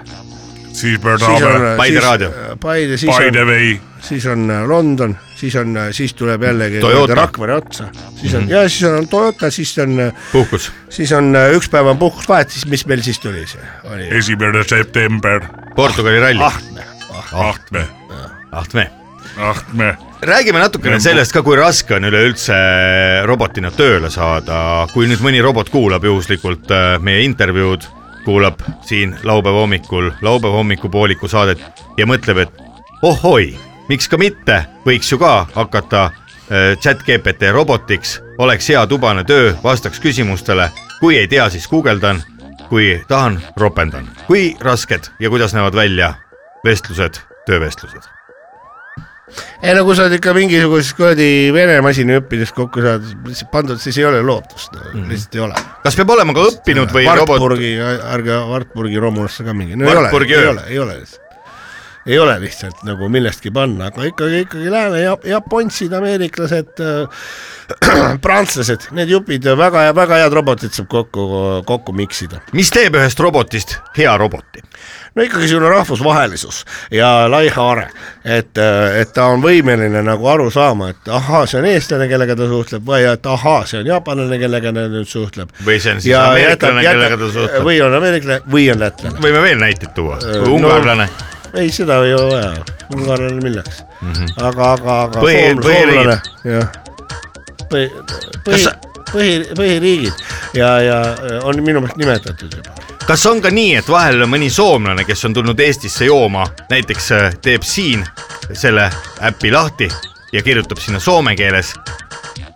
siis me saame Paide raadio. . äh, Paide , siis by the on , way , siis on äh, London , siis on , siis tuleb jällegi Toyota. Mhm. mööda Rakvere otsa , siis on mm -hmm. ja siis on Toyota , siis on , puhkus . siis on äh, üks päev on puhkust vahet , siis mis meil siis tuli see , oli esimene september , Portugali ralli . Ahtme . ahtme , Ahtme . ahtme , räägime natukene sellest ka , kui raske on üleüldse robotina tööle saada , kui nüüd mõni robot kuulab juhuslikult äh, meie intervjuud , kuulab siin laupäeva hommikul , laupäeva hommikupooliku saadet ja mõtleb , et ohoi , miks ka mitte , võiks ju ka hakata äh, chat GPT robotiks , oleks hea tubane töö , vastaks küsimustele , kui ei tea , siis guugeldan , kui tahan , ropendan . kui rasked ja kuidas näevad välja vestlused , töövestlused ? ei no kui sa oled ikka mingisuguse kuradi vene masina õppides kokku saanud , pandud , siis ei ole lootust no. mm , -hmm. lihtsalt ei ole . kas peab olema ka õppinud Mhm. või robot ? Wartburgi , ärge Wartburgi Romulasse ka minge , no ei ole , Wartburgi ei öö. ole , ei ole lihtsalt . ei ole lihtsalt nagu millestki panna , aga ikkagi , ikkagi lääne ja, japonsid , ameeriklased äh, , prantslased , need jupid , väga , väga head robotid saab kokku , kokku miksida mis teeb ühest robotist hea roboti ? no ikkagi selline rahvusvahelisus ja lai haare , et , et ta on võimeline nagu aru saama , et ahaa , see on eestlane , kellega ta suhtleb või et ahaa , see on jaapanlane , kellega ta nüüd suhtleb . Või see on siis ameeriklane, kellega ta suhtleb. või on ameeriklane või on lätlane . võime veel näiteid tuua , Äh, ungarlane no, , ei , seda ei ole vaja , ungarlane milleks mm , -hmm. aga , aga , aga Mhm. Põhi- soom- põhiriigid. soomlane, jah. põhi , Kas põhi sa- , põhi , põhiriigid ja , ja on minu meelest nimetatud juba . kas on ka nii , et vahel on mõni soomlane , kes on tulnud Eestisse jooma , näiteks äh, teeb siin selle äpi lahti ja kirjutab sinna soome keeles .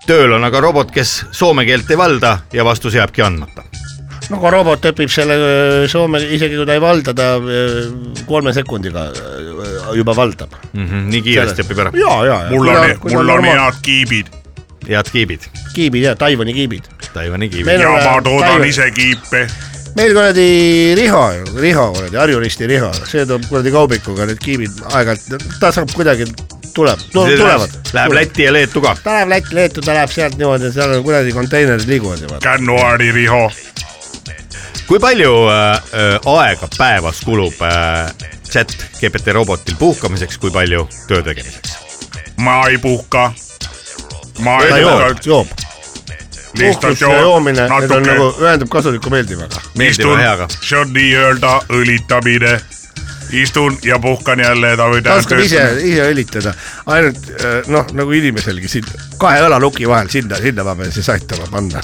tööl on aga robot , kes soome keelt ei valda ja vastus jääbki andmata . no aga robot õpib selle öö, soome , isegi kui ta ei valda , ta öö, kolme sekundiga öö, juba valdab . Mhm, nii kiiresti õpib ära . ja , ja , ja . mul on , mul on . head kiibid head kiibid , kiibid ja Taiwan'i kiibid . Taiwan'i Meil kiibid . ja ole ma toodan Taiwan. ise kiipe . meil kuradi Riho , Riho kuradi , Harju risti Riho , see toob kuradi kaubikuga need kiibid aeg-ajalt , ta saab kuidagi , tuleb , tulevad . Läheb . Lätti ja Leetu ka . ta läheb Lätti , Leetu , ta läheb sealt niimoodi , seal on kuradi konteinerid liiguvad juba . Januari Riho , kui palju äh, äh, aega päevas kulub äh, chat GPT robotil puhkamiseks , kui palju töö tegemiseks ? ma ei puhka . ma ta ei puhka , joob , joob . lihtsalt puhkus ja joomine , need on natuke nagu , ühendab kasuliku meeldivaga . meeldiva heaga . see on nii-öelda õlitamine . istun ja puhkan jälle või ta oskab ise , ise õlitada , ainult eh, noh , nagu inimeselgi siin kahe õlaluki vahel sinna , sinna ma pean siis aitama panna .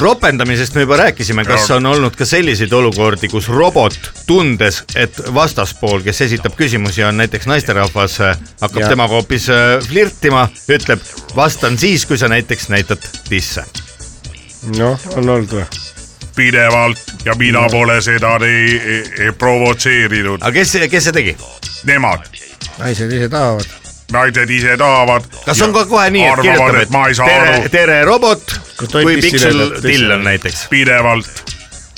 ropendamisest me juba rääkisime , kas on olnud ka selliseid olukordi , kus robot , tundes , et vastaspool , kes esitab küsimusi , on näiteks naisterahvas , hakkab Jaa. ja. temaga hoopis äh, flirtima , ütleb , vastan siis , kui sa näiteks näitad tisse . noh , on olnud või ? pidevalt ja mina pole seda ei, ei, ei provotseerinud . Mm. aga kes , kes see tegi ? Nemad , naised ise tahavad . naised ise tahavad . kas on ka kohe nii , et arvavad , kirjutame , et ma et ei saa tere aru ,. tere robot , Kas tohib kui pissile piksel näidata? till on näiteks . pidevalt ,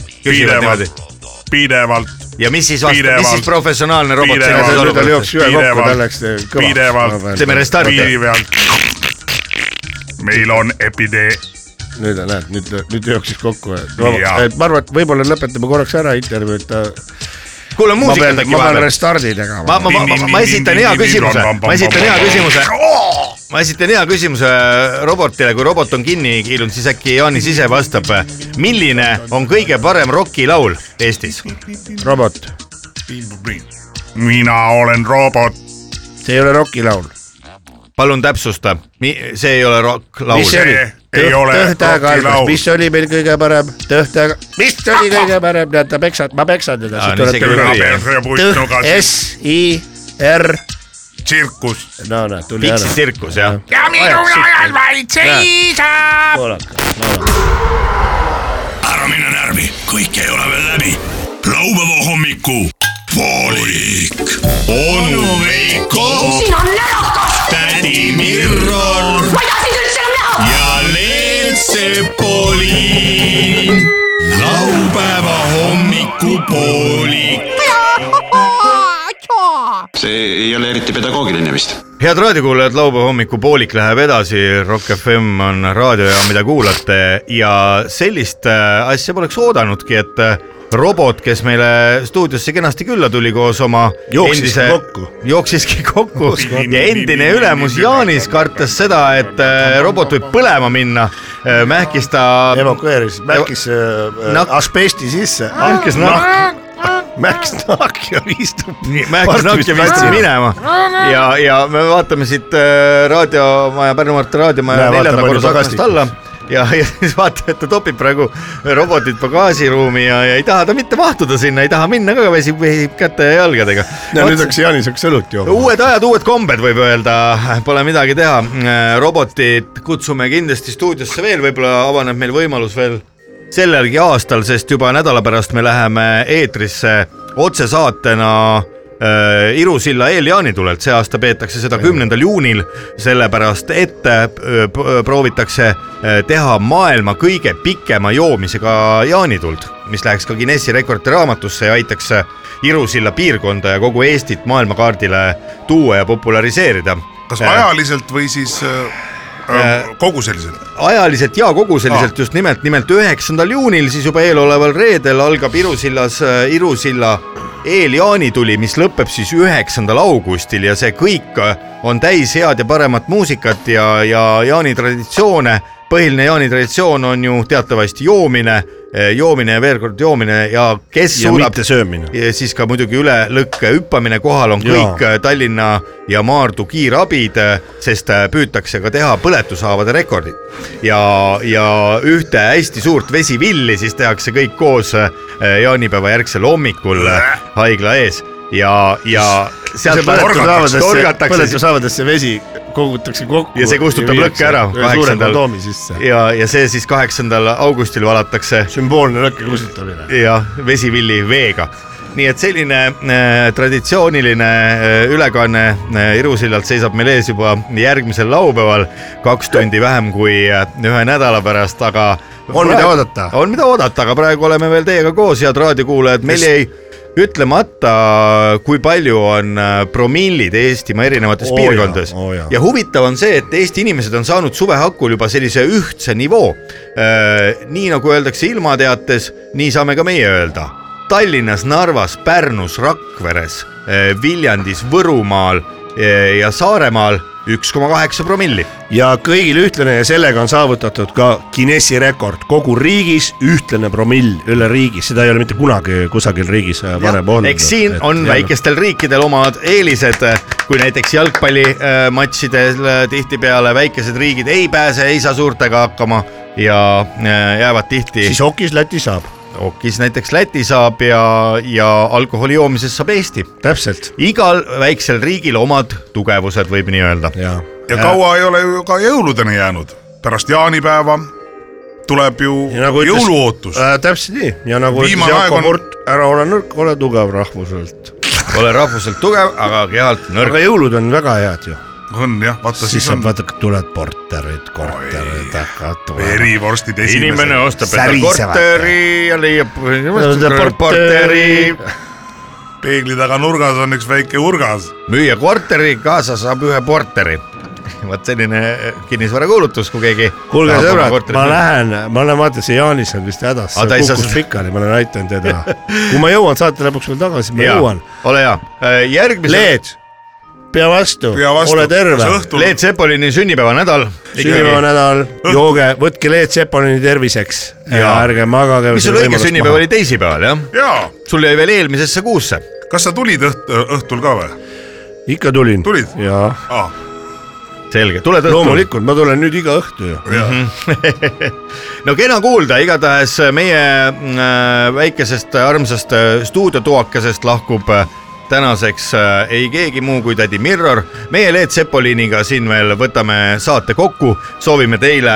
küsivad Pidevalt. niimoodi . pidevalt , ja mis siis vastab , mis Pidevalt. siis professionaalne robot Pidevalt. sellises nüüd tal olukorras jooksis ühe kokku , Pidevalt. tal läks eh, Pidevalt. kõva . teeme restarti . pidevalt . meil on epidee- , nüüd näed , nüüd , nüüd jooksis kokku . Jaa. ma arvan , et võib-olla lõpetame korraks ära intervjuud . kuule ma muusikat pean , äkki ma pean vahepeal . restardi tegema ma , ma , ma , ma , ma esitan hea küsimuse , ma esitan hea küsimuse . ma esitan hea küsimuse robotile , kui robot on kinni kiilunud , siis äkki Jaanis ise vastab . milline on kõige parem rokilaul Eestis ? robot , mina olen robot , see ei ole rokilaul . palun täpsusta , see ei ole mis see rokklaul . oli See ? ei ole tähtaega rokilaul. algas , mis oli meil kõige parem , tähtaega , mis oli kõige parem , näed , ta peksab , ma peksan teda , Aa, siis no tuleb isegi tuli oli. persepuistuga S I R , tsirkus . no näed , tuli Piksi ära . tsirkus jah , ja minu ajal vaid seisab . ära mine närvi , kõik ei ole veel läbi . laupäeva hommiku poolik . onu Veiko , sina närakas , tädi Mirro ma ei taha sind üldse enam näha . ja Leelsepoliin . laupäeva hommikupoolik . see ei ole eriti pedagoogiline vist . head raadiokuulajad , laupäeva hommikupoolik läheb edasi , Rock FM on raadiojaam , mida kuulate ja sellist äh, asja poleks oodanudki , et äh, robot , kes meile stuudiosse kenasti külla tuli koos oma Jooksiski kokku. jooksiski kokku ja endine ülemus Jaanis kartes seda , et äh, robot võib põlema minna , mähkis ta , evakueeris , märkis äh, Nakk- asbesti sisse , Ah. Märkis nakk. , märkis nakk ja istub . mähkis nakki ja viskas minema ja , ja me vaatame siit äh, raadiomaja , Pärnu maantee raadiomaja Näe, neljanda vaatame, korruse palju aknast alla ja , ja siis vaatad , et ta topib praegu robotit pagaasiruumi ja , ja ei taha ta mitte mahtuda sinna , ei taha minna ka , väsib , väsib käte ja jalgadega . ja nüüd hakkas Jaanis hakkas õlut jooma . uued ajad , uued kombed , võib öelda , pole midagi teha . robotit kutsume kindlasti stuudiosse veel , võib-olla avaneb meil võimalus veel sellelgi aastal , sest juba nädala pärast me läheme eetrisse otsesaatena äh, Iru silla eel jaanitulelt , see aasta peetakse seda kümnendal juunil , sellepärast et äh, p- äh, proovitakse äh, teha maailma kõige pikema joomisega jaanituld , mis läheks ka Guinessi rekordite raamatusse ja aitaks Iru silla piirkonda ja kogu Eestit maailmakaardile tuua ja populariseerida . Äh, kas ajaliselt või siis äh, äh, koguseliselt ? ajaliselt ja koguseliselt ah. just nimelt , nimelt üheksandal juunil , siis juba eeloleval reedel algab Irusillas äh, Irusilla eeljaanituli , mis lõpeb siis üheksandal augustil ja see kõik äh, on täis head ja paremat muusikat ja , ja jaanitraditsioone . põhiline jaanitraditsioon on ju teatavasti joomine , joomine ja veel kord joomine ja kes ja suudab mitte söömine . ja siis ka muidugi üle lõkke hüppamine , kohal on Jaa. kõik äh, Tallinna ja Maardu kiirabid , sest äh, püütakse ka teha põletushaavade rekordid . ja , ja ühte hästi suurt vesivilli siis tehakse kõik koos äh, jaanipäeva järgsel hommikul äh, haigla ees ja , ja sealt põletushaavadesse- torgatakse põletushaavadesse vesi kogutakse kokku . Ja see kustutab lõkke ära kaheksandal. kaheksandal . toomi sisse . ja , ja see siis kaheksandal augustil valatakse sümboolne lõkke kustutamine . jah , vesivilli veega . nii et selline äh, traditsiooniline äh, ülekanne äh, Irusillalt seisab meil ees juba järgmisel laupäeval , kaks tundi vähem kui äh, ühe nädala pärast , aga . On, mida oodata. on , mida oodata , aga praegu oleme veel teiega koos , head raadiokuulajad , meil jäi ütlemata , kui palju on äh, promillid Eestimaa erinevates Oo oh piirkondades jaa, oo jaa. ja ja huvitav on see , et Eesti inimesed on saanud suve hakul juba sellise ühtse nivoo . nii nagu öeldakse ilmateates , nii saame ka meie öelda . Tallinnas , Narvas , Pärnus , Rakveres , Viljandis , Võrumaal eh, ja Saaremaal üks koma kaheksa promilli . ja kõigil ühtlane ja sellega on saavutatud ka Guinessi rekord kogu riigis ühtlane promill üle riigi , seda ei ole mitte kunagi kusagil riigis äh, varem olnud . eks siin on . väikestel riikidel omad eelised , kui näiteks jalgpallimatšidel tihtipeale väikesed riigid ei pääse , ei saa suurtega hakkama ja eh, jäävad tihti siis okis Läti saab . okis näiteks Läti saab ja , ja alkoholi joomises saab Eesti . täpselt igal väiksel riigil omad tugevused , võib nii öelda . ja ja kaua ei ole ju ka jõuludeni jäänud , pärast jaanipäeva tuleb ju Ja nagu ütles- jõuluootus . äh, täpselt nii ja nagu ütles Viimane aeg Jaako on- Murt , ära ole nõrk , ole tugev rahvuselt . ole rahvuselt tugev , aga kehalt nõrk . aga jõulud on väga head ju , on jah , vaata siis siis saab on vaata , tulevad porterid , korterid hakkavad tulema . verivorstid esimesed . ostab Särisevad. korteri ja leiab korteri. korteri , peegli taga nurgas on üks väike urgas . müüa korteri , kaasa saab ühe korteri . vot selline kinnisvarakuulutus , kui keegi . kuulge sõbrad , ma . lähen , ma lähen vaatan , see Jaanis on vist hädas , Aga ta ei saa kukkus seda- pikali , ma olen aidanud teda . kui ma jõuan saate lõpuks veel tagasi , ma jõuan . ole hea , järgmise . Leed , pea vastu, Pea vastu. ole terve Kas . õhtul- Leet Sepolini sünnipäevanädal . sünnipäevanädal , jooge , võtke Leed Sepolini terviseks ja Jaa. ärge magage . mis sul õige sünnipäev oli teisipäeval jah ? jaa , sul jäi veel eelmisesse kuusse kas sa tulid õht- , õhtul ka või ? ikka tulin . Tulid? jaa , aa , selge , tuled õhtul . loomulikult , ma tulen nüüd iga õhtu ju . no kena kuulda , igatahes meie äh, väikesest armsast äh, stuudiotoakesest lahkub äh, tänaseks äh, ei keegi muu kui tädi Mirror . meie Leet Sepoliniga siin veel võtame saate kokku , soovime teile ,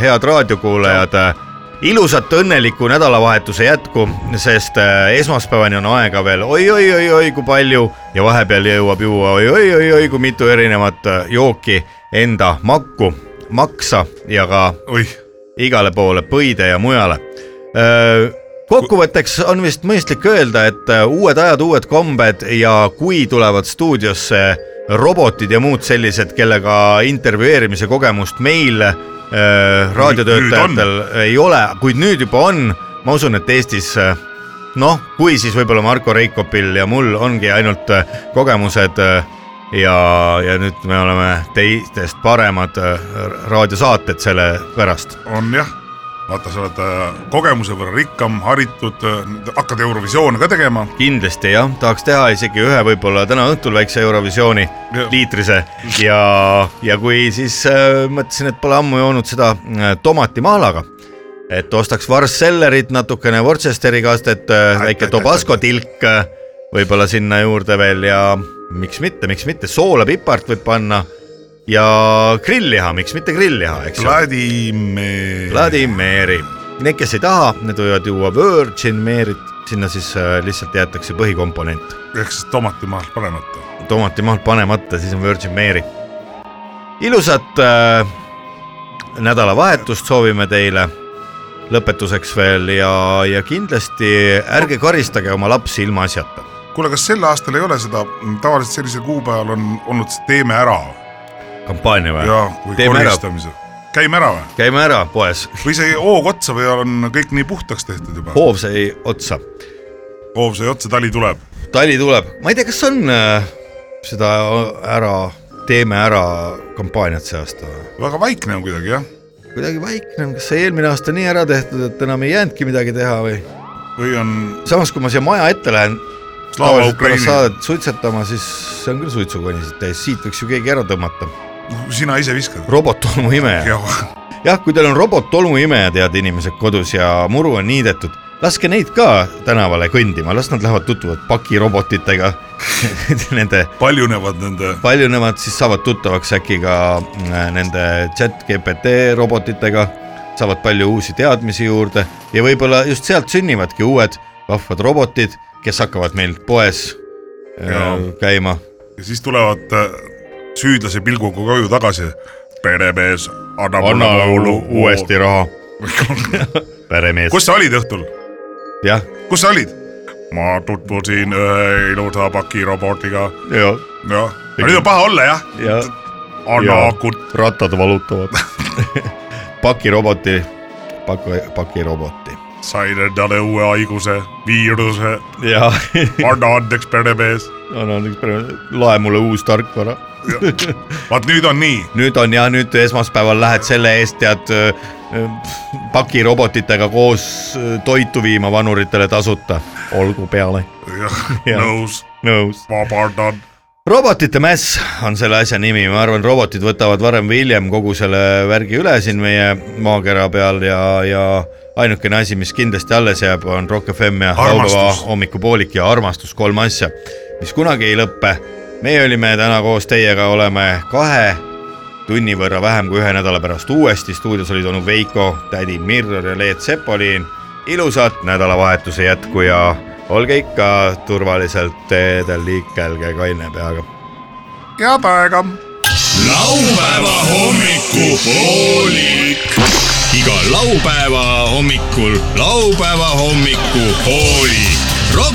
head raadiokuulajad , ilusat õnnelikku nädalavahetuse jätku , sest äh, esmaspäevani on aega veel oi-oi-oi-oi kui palju ja vahepeal jõuab juua oi-oi-oi-oi kui mitu erinevat äh, jooki enda makku , maksa ja ka oih , igale poole , Pöide ja mujale . kokkuvõtteks on vist mõistlik öelda , et öö, uued ajad , uued kombed ja kui tulevad stuudiosse robotid ja muud sellised , kellega intervjueerimise kogemust meil öö, raadiotöötajatel ei ole , kuid nüüd juba on , ma usun , et Eestis öö, noh , kui siis võib-olla Marko Reikopil ja mul ongi ainult äh, kogemused äh, ja , ja nüüd me oleme teistest paremad äh, raadiosaated selle pärast . on jah . vaata , sa oled äh, kogemuse võrra rikkam , haritud , hakkad Eurovisioone ka tegema . kindlasti jah , tahaks teha isegi ühe võib-olla täna õhtul väikse Eurovisiooni Jah. liitrise ja , ja kui siis äh, mõtlesin , et pole ammu joonud seda äh, tomatimaalaga , et ostaks varsssellerit , natukene Worcesteri kastet , väike Tobasco tilk äh, võib-olla sinna juurde veel ja miks mitte , miks mitte , soolapipart võib panna ja grillliha , miks mitte grillliha , eks ju . Vladimir . Vladimiri , need , kes ei taha , need võivad juua Virgin Maryt , sinna siis äh, lihtsalt jäetakse põhikomponent . ehk siis tomatimaal panemata . tomatimahl panemata , siis on Virgin Mary . ilusat äh, nädalavahetust soovime teile lõpetuseks veel ja , ja kindlasti ärge karistage oma lapsi ilmaasjata . kuule , kas sel aastal ei ole seda , tavaliselt sellisel kuupäeval on olnud see Teeme ära kampaania või ja ? kui teeme ära , koristamise . käime ära või ? käime ära poes , või see hoog otsa või on kõik nii puhtaks tehtud juba ? hoov sai otsa , hoov sai otsa , tali tuleb . tali tuleb , ma ei tea , kas on äh, seda ära , teeme ära kampaaniat see aasta või ? väga vaikne on kuidagi jah , kuidagi vaikne on , kas sai eelmine aasta nii ära tehtud , et enam ei jäänudki midagi teha või ? või on samas , kui ma siia maja ette lähen , Slava tavaliselt pärast Ukraini , saadet suitsetama , siis see on küll suitsukonnisid täis , siit võiks ju keegi ära tõmmata . sina ise viskad . robot-tolmuimeja . jah , jah , kui teil on robot-tolmuimejad , head inimesed kodus ja muru on niidetud , laske neid ka tänavale kõndima , las nad lähevad tutvuvad pakirobotitega , nende paljunevad nende , paljunevad , siis saavad tuttavaks äkki ka äh, nende chat GPT robotitega , saavad palju uusi teadmisi juurde ja võib-olla just sealt sünnivadki uued vahvad robotid , kes hakkavad meil poes äh, Jaa. käima . ja siis tulevad äh, süüdlase pilguga koju tagasi . peremees annab mulle voolu- raha . peremees , kus sa olid õhtul , jah , kus sa olid ? ma tutvusin ühe ilusa pakirobotiga , ja , jah . nüüd on paha olla jah , ja anna Jaa. akut . rattad valutavad . pakiroboti , paki , pakiroboti . sain endale uue haiguse , viiruse , ja , anna andeks , peremees . annan üks , lae mulle uus tarkvara vaat nüüd on nii , nüüd on jah , nüüd esmaspäeval lähed selle eest tead öö, öö, pakirobotitega koos öö, toitu viima vanuritele tasuta . olgu peale . Jah. nõus , nõus . vabandan , robotite mäss on selle asja nimi , ma arvan , robotid võtavad varem või hiljem kogu selle värgi üle siin meie maakera peal ja , ja ainukene asi , mis kindlasti alles jääb , on Rock FM ja Armastus. laupäeva hommikupoolik ja armastus , kolm asja , mis kunagi ei lõppe . meie olime täna koos teiega , oleme kahe tunni võrra vähem kui ühe nädala pärast uuesti , stuudios olid onu Veiko , tädi Mirror ja Leet Sepolin . ilusat nädalavahetuse jätku ja olge ikka turvaliselt teedel liikel , käige kaine peaga . head aega laupäeva hommikupoolik . iga laupäeva hommikul laupäeva hommikupoolik . Rock